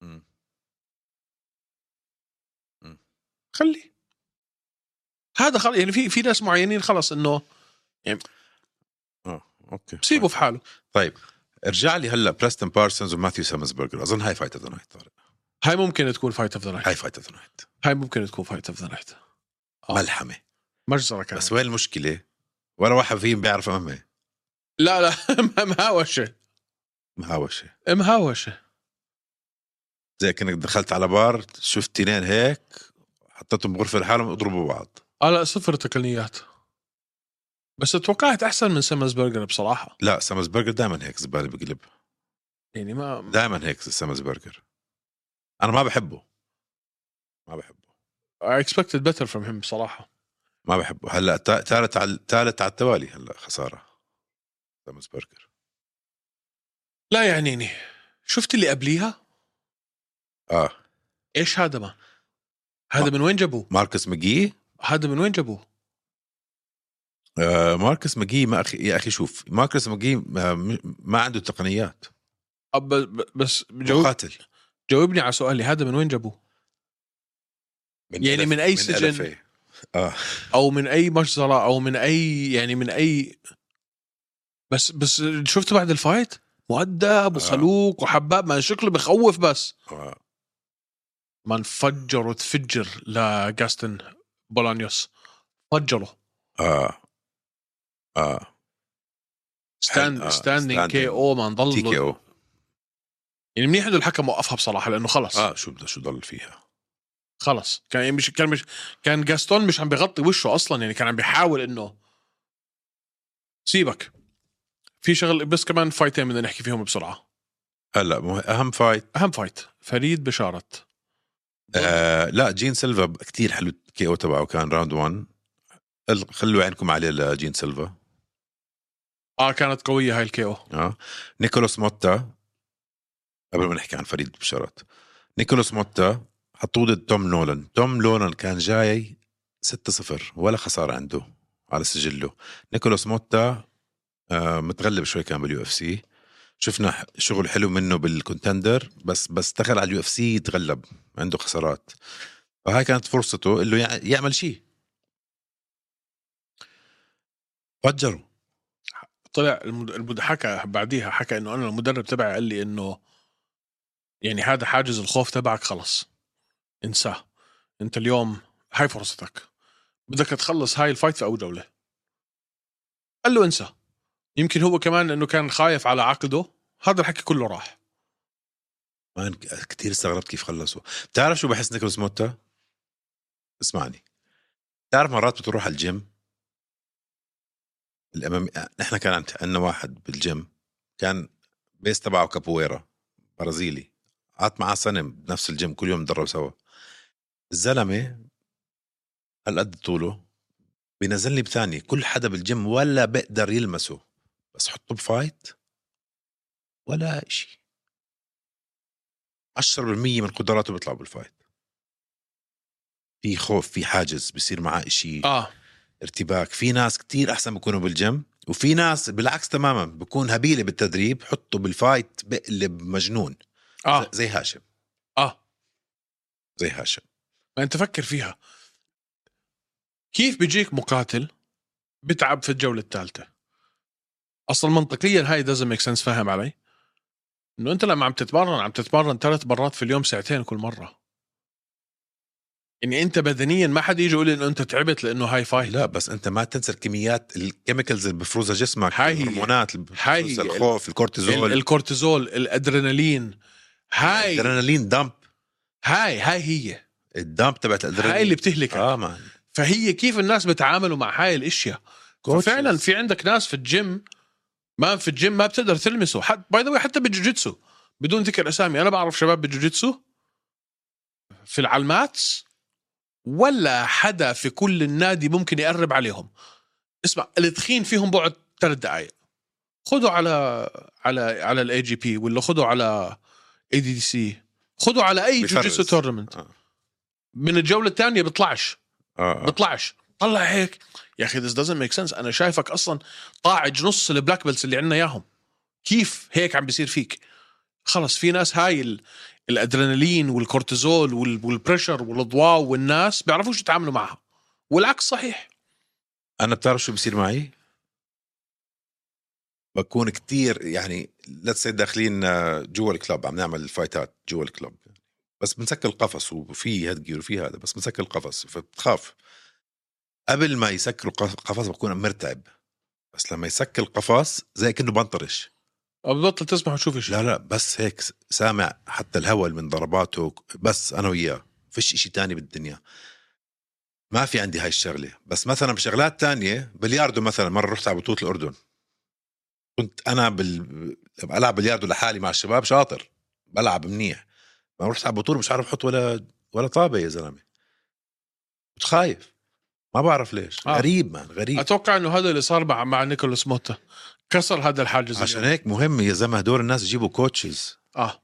[SPEAKER 2] مم. مم.
[SPEAKER 1] خليه هذا خل... يعني في في ناس معينين خلص انه
[SPEAKER 2] اه اوكي
[SPEAKER 1] سيبه في حاله
[SPEAKER 2] طيب ارجع لي هلا بريستن بارسونز وماثيو سامسبرجر اظن هاي فايت اوف ذا نايت طارق
[SPEAKER 1] هاي ممكن تكون فايت اوف ذا نايت
[SPEAKER 2] هاي فايت اوف ذا نايت
[SPEAKER 1] هاي ممكن تكون فايت اوف ذا نايت آه.
[SPEAKER 2] ملحمه
[SPEAKER 1] مجزره كانت
[SPEAKER 2] بس وين المشكله؟ ولا واحد فيهم بيعرف امامي
[SPEAKER 1] لا لا مهاوشه
[SPEAKER 2] مهاوشه
[SPEAKER 1] مهاوشه
[SPEAKER 2] زي كانك دخلت على بار شفت تنين هيك حطيتهم بغرفه لحالهم اضربوا بعض
[SPEAKER 1] آه لا صفر تقنيات بس توقعت احسن من سيمنز برجر بصراحه
[SPEAKER 2] لا سامسبرجر دائما هيك زباله بقلب
[SPEAKER 1] يعني ما
[SPEAKER 2] دائما هيك سامسبرجر انا ما بحبه ما بحبه
[SPEAKER 1] I expected better from him بصراحه
[SPEAKER 2] ما بحبه هلا تا- تالت على تالت على التوالي هلا خساره سامسبرجر
[SPEAKER 1] لا يعنيني شفت اللي قبليها
[SPEAKER 2] اه
[SPEAKER 1] ايش هذا ما هذا من وين جابوه
[SPEAKER 2] ماركوس مجي
[SPEAKER 1] هذا من وين جابوه
[SPEAKER 2] آه ماركوس مجي ما اخي يا اخي شوف ماركوس مجي ما, ما عنده تقنيات
[SPEAKER 1] أب ب- بس جاوب
[SPEAKER 2] مقاتل
[SPEAKER 1] جاوبني على سؤالي هذا من وين جابوه يعني
[SPEAKER 2] ألف-
[SPEAKER 1] من أي سجن؟
[SPEAKER 2] ألفي. اه
[SPEAKER 1] او من اي مجزره او من اي يعني من اي بس بس شفته بعد الفايت مؤدب وخلوق وحباب ما شكله بخوف بس
[SPEAKER 2] آه.
[SPEAKER 1] ما انفجر وتفجر لجاستن بولانيوس فجره
[SPEAKER 2] اه اه
[SPEAKER 1] ستاند
[SPEAKER 2] آه،
[SPEAKER 1] ستاندينج
[SPEAKER 2] standing.
[SPEAKER 1] كي او ما
[SPEAKER 2] تي كي
[SPEAKER 1] ضل
[SPEAKER 2] او
[SPEAKER 1] يعني منيح انه الحكم وقفها بصراحه لانه خلص
[SPEAKER 2] اه شو بده شو ضل فيها
[SPEAKER 1] خلص كان يعني مش كان مش كان جاستون مش عم بيغطي وشه اصلا يعني كان عم بيحاول انه سيبك في شغل بس كمان فايتين بدنا نحكي فيهم بسرعه
[SPEAKER 2] هلا مه... اهم فايت
[SPEAKER 1] اهم فايت فريد بشارت
[SPEAKER 2] آه لا جين سيلفا كتير حلو الكي او تبعه كان راوند 1 خلوا عينكم عليه لجين سيلفا
[SPEAKER 1] اه كانت قويه هاي الكي او
[SPEAKER 2] اه نيكولاس موتا قبل ما نحكي عن فريد بشارات نيكولاس موتا حطوه ضد توم نولان توم نولان كان جاي 6-0 ولا خسارة عنده على سجله نيكولاس موتا آه متغلب شوي كان باليو اف سي شفنا ح- شغل حلو منه بالكونتندر بس بس دخل على اليو اف سي تغلب عنده خسارات فهاي كانت فرصته انه يع- يعمل شيء فجروا
[SPEAKER 1] طلع المد... المد... حكى بعديها حكى انه انا المدرب تبعي قال لي انه يعني هذا حاجز الخوف تبعك خلص انساه انت اليوم هاي فرصتك بدك تخلص هاي الفايت في اول جوله قال له انسى يمكن هو كمان لانه كان خايف على عقده هذا الحكي كله راح
[SPEAKER 2] مان كثير استغربت كيف خلصوا بتعرف شو بحس نيكولاس موتا اسمعني بتعرف مرات بتروح على الجيم الامامي آه، نحن كان عند- عندنا واحد بالجيم كان بيس تبعه كابويرا برازيلي قعدت معاه سنه بنفس الجيم كل يوم نتدرب سوا الزلمه هالقد طوله بينزلني بثاني كل حدا بالجيم ولا بقدر يلمسه بس حطه بفايت ولا شيء 10% من قدراته بيطلعوا بالفايت في خوف في حاجز بصير معاه شيء
[SPEAKER 1] اه
[SPEAKER 2] ارتباك في ناس كتير احسن بكونوا بالجيم وفي ناس بالعكس تماما بكون هبيله بالتدريب حطه بالفايت بقلب مجنون
[SPEAKER 1] اه
[SPEAKER 2] زي هاشم
[SPEAKER 1] اه
[SPEAKER 2] زي هاشم
[SPEAKER 1] ما انت فكر يعني فيها كيف بيجيك مقاتل بتعب في الجوله الثالثه اصلا منطقيا هاي دازنت ميك سنس فاهم علي انه انت لما عم تتمرن عم تتمرن ثلاث مرات في اليوم ساعتين كل مره يعني انت بدنيا ما حد يجي يقول لي انه انت تعبت لانه هاي فايت
[SPEAKER 2] لا بس انت ما تنسى الكميات الكيميكلز اللي بفرزها جسمك
[SPEAKER 1] هاي هي.
[SPEAKER 2] الهرمونات اللي
[SPEAKER 1] هاي
[SPEAKER 2] بفرزها
[SPEAKER 1] هي.
[SPEAKER 2] الخوف
[SPEAKER 1] ال-
[SPEAKER 2] الكورتيزول
[SPEAKER 1] الكورتيزول الادرينالين هاي
[SPEAKER 2] الادرينالين دامب
[SPEAKER 1] هاي هاي هي
[SPEAKER 2] الدامب تبعت الادرينالين
[SPEAKER 1] هاي اللي بتهلكك
[SPEAKER 2] اه مان
[SPEAKER 1] فهي كيف الناس بتعاملوا مع هاي الاشياء فعلا في عندك ناس في الجيم ما في الجيم ما بتقدر تلمسه حد باي ذا حتى بالجوجيتسو بدون ذكر اسامي انا بعرف شباب بالجوجيتسو في العلمات ولا حدا في كل النادي ممكن يقرب عليهم اسمع التخين فيهم بعد ثلاث دقائق خذوا على على على الاي جي بي ولا خذوا على اي دي دي سي خذوا على اي
[SPEAKER 2] بيفرز.
[SPEAKER 1] جوجيتسو تورنمنت
[SPEAKER 2] آه.
[SPEAKER 1] من الجوله الثانيه بيطلعش
[SPEAKER 2] اه آه.
[SPEAKER 1] بطلعش طلع هيك يا اخي ذس دزنت ميك سنس انا شايفك اصلا طاعج نص البلاك بيلتس اللي عندنا اياهم كيف هيك عم بيصير فيك خلص في ناس هاي ال- الادرينالين والكورتيزول وال- والبريشر والاضواء والناس بيعرفوش يتعاملوا معها والعكس صحيح
[SPEAKER 2] انا بتعرف شو بصير معي بكون كتير يعني ليتس سي داخلين آه، جوا الكلب عم نعمل الفايتات جوا الكلب بس بنسكر القفص وفي هيد جير وفي هذا بس بنسكر القفص فبتخاف قبل ما يسكروا القف- القفص بكون مرتعب بس لما يسكر القفص زي كانه بنطرش
[SPEAKER 1] أو ببطل تسمع وتشوف شيء
[SPEAKER 2] لا لا بس هيك س- سامع حتى الهول من ضرباته بس انا وياه فيش اشي تاني بالدنيا ما في عندي هاي الشغله بس مثلا بشغلات تانية بلياردو مثلا مره رحت على بطوله الاردن كنت انا بال... بلعب بلياردو لحالي مع الشباب شاطر بلعب منيح ما رحت على بطوله مش عارف احط ولا ولا طابه يا زلمه كنت خايف ما بعرف ليش
[SPEAKER 1] آه.
[SPEAKER 2] آه. غريب مان غريب
[SPEAKER 1] اتوقع انه هذا اللي صار مع مع نيكولاس موتا كسر هذا الحاجز
[SPEAKER 2] عشان
[SPEAKER 1] اليوم.
[SPEAKER 2] هيك مهم يا زلمه هدول الناس يجيبوا كوتشز
[SPEAKER 1] اه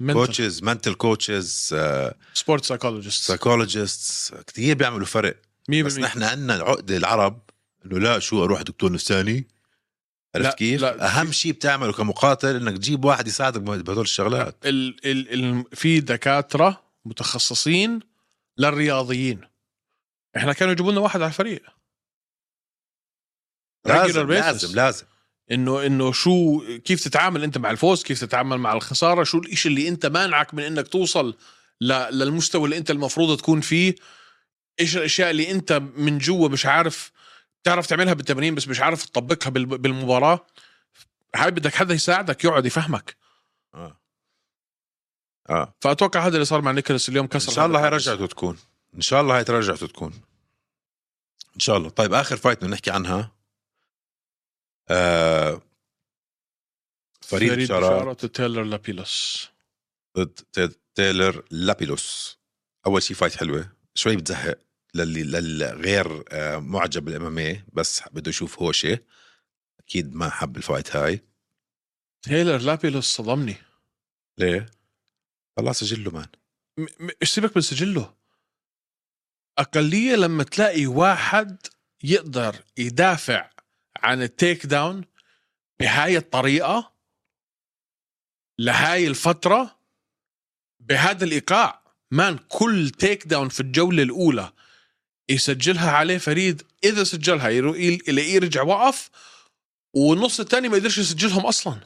[SPEAKER 1] منتل
[SPEAKER 2] كوتشز منتل كوتشز
[SPEAKER 1] سبورت سايكولوجيست 100%
[SPEAKER 2] سايكولوجيست كثير بيعملوا فرق بس نحن عندنا العقده العرب انه لا شو اروح دكتور نفساني
[SPEAKER 1] لا،
[SPEAKER 2] عرفت كيف؟
[SPEAKER 1] لا،
[SPEAKER 2] اهم شيء بتعمله كمقاتل انك تجيب واحد يساعدك بهدول الشغلات
[SPEAKER 1] ال ال ال في دكاتره متخصصين للرياضيين احنا كانوا يجيبوا لنا واحد على الفريق
[SPEAKER 2] لازم
[SPEAKER 1] Regular basis.
[SPEAKER 2] لازم لازم
[SPEAKER 1] انه انه شو كيف تتعامل انت مع الفوز كيف تتعامل مع الخساره شو الإشي اللي انت مانعك من انك توصل ل- للمستوى اللي انت المفروض تكون فيه ايش الاشياء اللي انت من جوا مش عارف تعرف تعملها بالتمرين بس مش عارف تطبقها بال- بالمباراه هاي بدك حدا يساعدك يقعد يفهمك
[SPEAKER 2] اه اه
[SPEAKER 1] فاتوقع هذا اللي صار مع نيكولاس اليوم
[SPEAKER 2] ان
[SPEAKER 1] كسر
[SPEAKER 2] شاء الله
[SPEAKER 1] هذا
[SPEAKER 2] هاي
[SPEAKER 1] الحاجز.
[SPEAKER 2] رجعته تكون ان شاء الله هاي رجعته تكون ان شاء الله طيب اخر فايت بدنا نحكي عنها آه فريد بشارات
[SPEAKER 1] وتايلر لابيلوس
[SPEAKER 2] ضد تيد- تايلر لابيلوس اول شيء فايت حلوه شوي بتزهق للي للغير آه، معجب بالاماميه بس بده يشوف هوشه اكيد ما حب الفايت هاي
[SPEAKER 1] تايلر لابيلوس صدمني
[SPEAKER 2] ليه؟ طلع سجله مان
[SPEAKER 1] م- م- ايش سيبك من سجله اقليه لما تلاقي واحد يقدر يدافع عن التيك داون بهاي الطريقه لهاي الفتره بهذا الايقاع مان كل تيك داون في الجوله الاولى يسجلها عليه فريد اذا سجلها يرو- يلاقيه رجع وقف والنص الثاني ما قدرش يسجلهم اصلا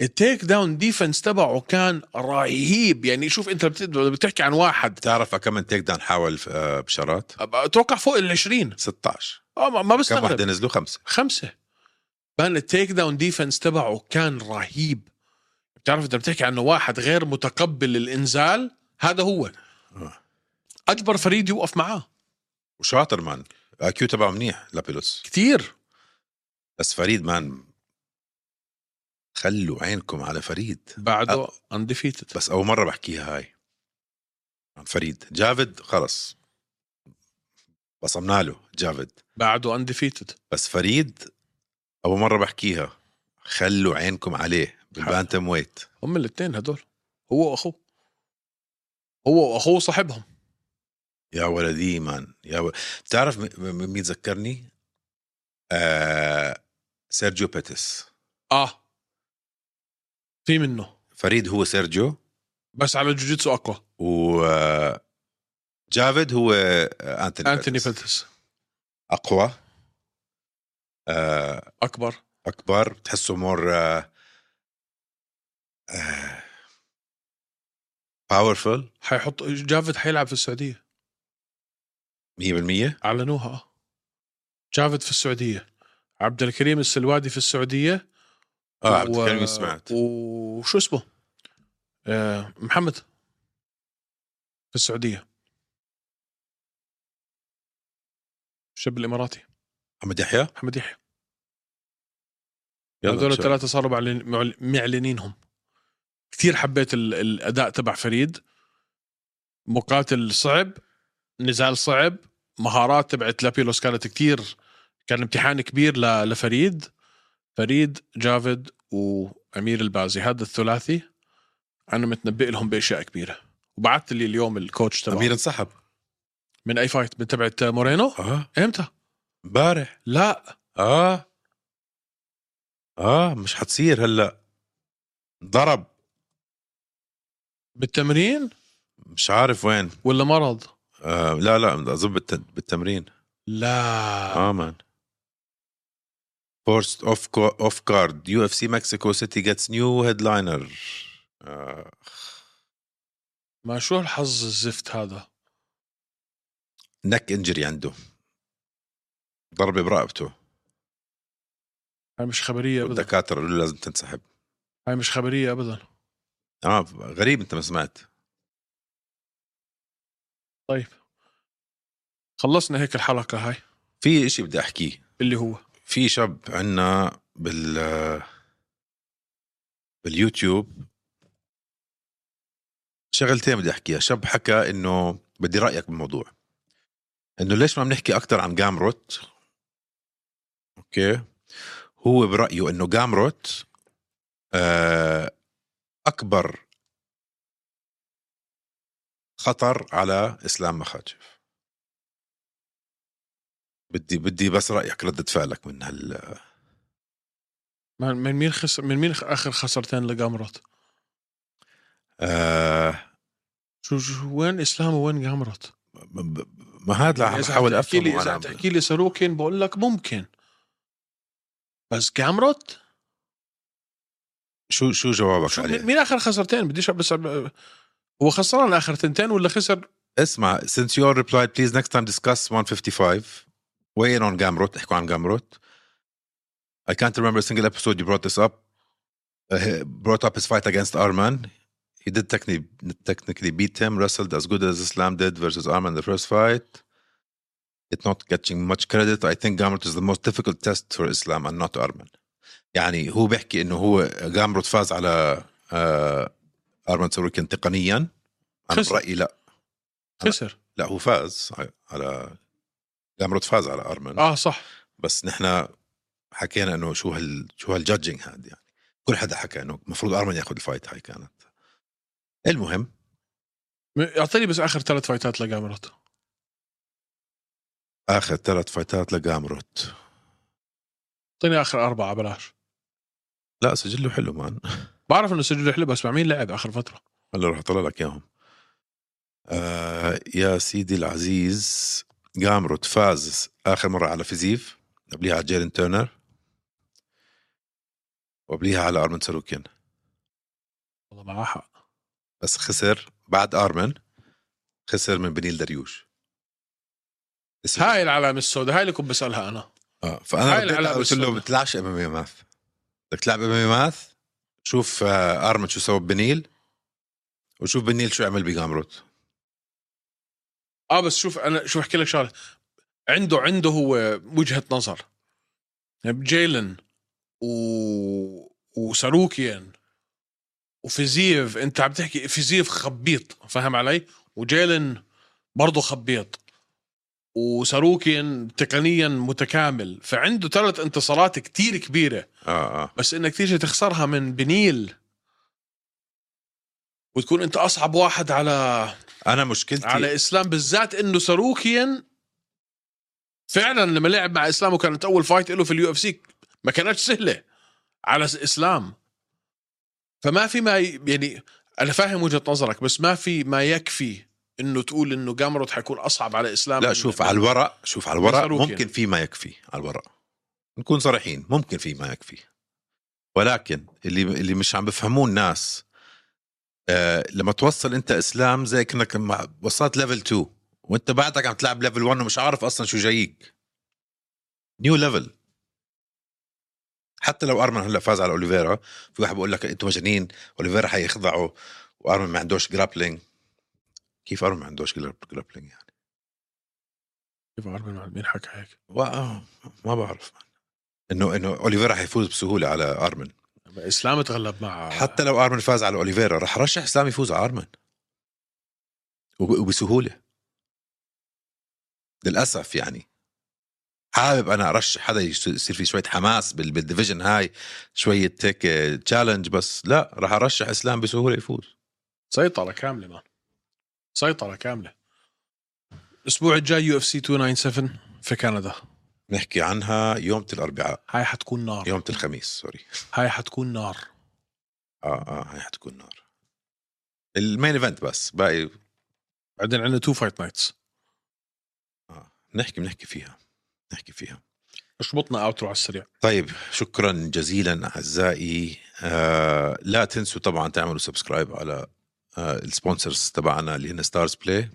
[SPEAKER 1] التيك داون ديفنس تبعه كان رهيب يعني شوف انت بت- بتحكي عن واحد
[SPEAKER 2] بتعرف كم من تيك داون حاول آه، بشارات؟
[SPEAKER 1] اتوقع فوق ال 20
[SPEAKER 2] 16
[SPEAKER 1] اه ما- ما
[SPEAKER 2] كم
[SPEAKER 1] بستغرب
[SPEAKER 2] وحده نزلوا خمسه
[SPEAKER 1] خمسه بان التيك داون ديفنس تبعه كان رهيب بتعرف انت بتحكي عنه واحد غير متقبل الانزال هذا هو
[SPEAKER 2] آه.
[SPEAKER 1] اجبر فريد يوقف معاه
[SPEAKER 2] وشاطر مان اكيو تبعه منيح لابيلوس
[SPEAKER 1] كثير
[SPEAKER 2] بس فريد مان خلوا عينكم على فريد
[SPEAKER 1] بعده انديفيتد
[SPEAKER 2] بس اول مره بحكيها هاي عن فريد جافد خلص بصمنا له جافد
[SPEAKER 1] بعده انديفيتد
[SPEAKER 2] بس فريد اول مره بحكيها خلوا عينكم عليه بالبانتم ويت
[SPEAKER 1] هم الاثنين هدول هو واخوه هو واخوه صاحبهم
[SPEAKER 2] يا ولدي مان يا و... بتعرف م- م- مين ذكرني؟ آه... سيرجيو بيتس
[SPEAKER 1] اه في منه
[SPEAKER 2] فريد هو سيرجيو
[SPEAKER 1] بس على جوجيتسو اقوى
[SPEAKER 2] و آه، جافد هو آه، انتوني
[SPEAKER 1] انتوني
[SPEAKER 2] بيتس.
[SPEAKER 1] بيتس
[SPEAKER 2] اقوى آه...
[SPEAKER 1] اكبر
[SPEAKER 2] اكبر بتحسه آه، مور آه، باورفل
[SPEAKER 1] حيحط جافد حيلعب في السعوديه
[SPEAKER 2] 100%
[SPEAKER 1] اعلنوها آه. جافد في السعوديه عبد الكريم السلوادي في السعوديه
[SPEAKER 2] اه عبد الكريم سمعت
[SPEAKER 1] وشو اسمه آه محمد في السعوديه الشاب الاماراتي
[SPEAKER 2] محمد يحيى
[SPEAKER 1] محمد يحيى
[SPEAKER 2] يلا
[SPEAKER 1] هذول
[SPEAKER 2] إن شاء
[SPEAKER 1] الثلاثة صاروا معلن- معل- معلنينهم كثير حبيت ال- الأداء تبع فريد مقاتل صعب نزال صعب مهارات تبعت لابيلوس كانت كثير كان امتحان كبير ل- لفريد فريد جافد وأمير البازي هذا الثلاثي أنا متنبئ لهم بأشياء كبيرة وبعثت لي اليوم الكوتش
[SPEAKER 2] الله.
[SPEAKER 1] تبعه
[SPEAKER 2] امير انسحب
[SPEAKER 1] من أي فايت من تبعت مورينو
[SPEAKER 2] اه
[SPEAKER 1] امتى؟
[SPEAKER 2] امبارح
[SPEAKER 1] لا
[SPEAKER 2] اه اه مش حتصير هلا ضرب
[SPEAKER 1] بالتمرين
[SPEAKER 2] مش عارف وين
[SPEAKER 1] ولا مرض؟
[SPEAKER 2] آه لا لا اظن بالت- بالتمرين
[SPEAKER 1] لا
[SPEAKER 2] اه مان فورست اوف اوف كارد يو اف سي مكسيكو سيتي جيتس نيو هيدلاينر آه.
[SPEAKER 1] ما شو الحظ الزفت هذا
[SPEAKER 2] نك انجري عنده ضربه برقبته
[SPEAKER 1] هاي مش خبريه ابدا
[SPEAKER 2] والدكاتره قالوا له لازم تنسحب
[SPEAKER 1] هاي مش خبريه ابدا
[SPEAKER 2] اه غريب انت ما سمعت
[SPEAKER 1] طيب خلصنا هيك الحلقه هاي
[SPEAKER 2] في اشي بدي احكيه
[SPEAKER 1] اللي هو
[SPEAKER 2] في شاب عنا بال باليوتيوب شغلتين بدي احكيها شاب حكى انه بدي رايك بالموضوع انه ليش ما بنحكي اكثر عن جامروت اوكي هو برايه انه جامروت آه، اكبر خطر على اسلام مخاجف بدي بدي بس رايك رده فعلك من هال
[SPEAKER 1] من من مين خسر من مين اخر خسرتين لقمرت
[SPEAKER 2] آه،
[SPEAKER 1] شو, شو وين اسلام وين قمرت
[SPEAKER 2] ب- ب- ما هذا عم
[SPEAKER 1] إذا
[SPEAKER 2] بحاول
[SPEAKER 1] حتحكي
[SPEAKER 2] افهم
[SPEAKER 1] لي اذا
[SPEAKER 2] وانا
[SPEAKER 1] تحكي لي ساروكين بقول لك ممكن بس قمرت
[SPEAKER 2] شو شو جوابك
[SPEAKER 1] شو
[SPEAKER 2] عليه؟
[SPEAKER 1] مين مين اخر خسرتين بديش بس هو خسران اخر تنتين ولا خسر
[SPEAKER 2] اسمع since you all replied please next time discuss 155 weigh in on Gamrot احكوا عن Gamrot I can't remember a single episode you brought this up uh, he brought up his fight against Arman he did technically technically beat him wrestled as good as Islam did versus Arman in the first fight it's not getting much credit I think Gamrot is the most difficult test for Islam and not Arman يعني هو بيحكي انه هو Gamrot فاز على uh, Arman Sarukian تقنيا انا
[SPEAKER 1] خسر.
[SPEAKER 2] برايي لا
[SPEAKER 1] خسر
[SPEAKER 2] لا هو فاز ع- على جامروت فاز على ارمن آه.
[SPEAKER 1] اه صح
[SPEAKER 2] بس نحن حكينا انه شو هال شو هالجادجنج هاد يعني كل حدا حكى انه المفروض ارمن ياخذ الفايت هاي كانت المهم
[SPEAKER 1] م- اعطيني بس اخر ثلاث فايتات لقمرت
[SPEAKER 2] اخر ثلاث فايتات لجامروت
[SPEAKER 1] اعطيني اخر اربعه بلاش
[SPEAKER 2] لا سجله حلو مان
[SPEAKER 1] بعرف انه سجل حلو بس مع مين لعب اخر فتره
[SPEAKER 2] هلا رح اطلع لك اياهم آه يا سيدي العزيز جامروت فاز اخر مره على فيزيف قبليها على جيرين تيرنر وقبليها على ارمن ساروكيان
[SPEAKER 1] والله معاه حق
[SPEAKER 2] بس خسر بعد ارمن خسر من بنيل دريوش بس-
[SPEAKER 1] هاي العلامة السوداء هاي اللي كنت بسألها أنا
[SPEAKER 2] آه
[SPEAKER 1] هاي
[SPEAKER 2] فانا رديت
[SPEAKER 1] العلاقة
[SPEAKER 2] له قلت له
[SPEAKER 1] بالسوداء.
[SPEAKER 2] بتلعبش ام ام إيه ماث بدك تلعب ام ام ماث شوف آه، ارمن شو سوى ببنيل وشوف بنيل شو عمل بجامروت
[SPEAKER 1] اه بس شوف انا شوف احكي لك شغله عنده عنده هو وجهه نظر يعني جيلن و وساروكيان وفيزيف انت عم تحكي فيزيف خبيط فاهم علي وجيلن برضه خبيط وساروكيان تقنيا متكامل فعنده ثلاث انتصارات كتير كبيره
[SPEAKER 2] اه اه
[SPEAKER 1] بس انك تيجي تخسرها من بنيل وتكون انت اصعب واحد على
[SPEAKER 2] انا مشكلتي
[SPEAKER 1] على اسلام بالذات انه ساروكيان فعلا لما لعب مع اسلام وكانت اول فايت له في اليو اف سي ما كانتش سهله على س- اسلام فما في ما ي- يعني انا فاهم وجهه نظرك بس ما في ما يكفي انه تقول انه جامروت حيكون اصعب على اسلام
[SPEAKER 2] لا
[SPEAKER 1] من-
[SPEAKER 2] شوف
[SPEAKER 1] من-
[SPEAKER 2] على الورق شوف على الورق
[SPEAKER 1] بيسألوك
[SPEAKER 2] ممكن في ما يكفي على الورق نكون صريحين ممكن في ما يكفي ولكن اللي اللي مش عم بفهموه الناس آه لما توصل انت اسلام زي كانك مع- وصلت ليفل 2 وانت بعدك عم تلعب ليفل 1 ومش عارف اصلا شو جايك نيو ليفل حتى لو ارمن هلا فاز على اوليفيرا في واحد بيقول لك انتوا مجانين اوليفيرا حيخضعه وارمن ما عندوش جرابلينج كيف ارمن ما عندوش جرابلينج يعني
[SPEAKER 1] كيف عارف مين- مين حكى هيك
[SPEAKER 2] وا- آه، ما بعرف انه انه اوليفيرا حيفوز بسهوله على ارمن
[SPEAKER 1] اسلام تغلب مع
[SPEAKER 2] حتى لو ارمن فاز على اوليفيرا رح رشح اسلام يفوز على ارمن وب- وبسهوله للاسف يعني حابب انا ارشح حدا يس- يصير في شويه حماس بال- بالديفيجن هاي شويه هيك تشالنج بس لا رح ارشح اسلام بسهوله يفوز
[SPEAKER 1] سيطره كامله مان سيطره كامله الاسبوع الجاي يو اف سي 297 في كندا
[SPEAKER 2] نحكي عنها يوم الاربعاء
[SPEAKER 1] هاي حتكون نار
[SPEAKER 2] يوم الخميس سوري
[SPEAKER 1] هاي حتكون نار
[SPEAKER 2] اه اه هاي حتكون نار المين ايفنت بس باقي
[SPEAKER 1] بعدين عندنا تو فايت نايتس
[SPEAKER 2] نحكي بنحكي فيها نحكي فيها
[SPEAKER 1] اشبطنا اوترو على السريع
[SPEAKER 2] طيب شكرا جزيلا اعزائي آه لا تنسوا طبعا تعملوا سبسكرايب على آه السبونسرز تبعنا اللي هن ستارز بلاي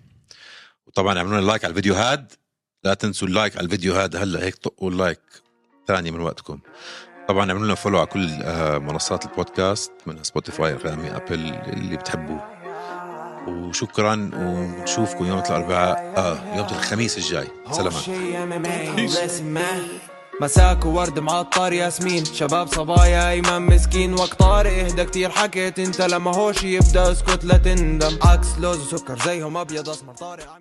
[SPEAKER 2] وطبعا اعملوا لنا لايك على الفيديو هاد لا تنسوا اللايك على الفيديو هاد هلا هيك طقوا اللايك ثاني من وقتكم طبعا اعملوا لنا فولو على كل آه منصات البودكاست من سبوتيفاي غامي ابل اللي بتحبوه وشكرا ونشوفكم يوم الاربعاء آه يوم الخميس الجاي سلامات
[SPEAKER 3] سلامات مساك وورد معطر ياسمين شباب صبايا ايمن مسكين وقت طارق اهدى كتير حكيت انت لما هوش يبدا اسكت لا تندم عكس لوز وسكر زيهم ابيض اسمر طارق عم-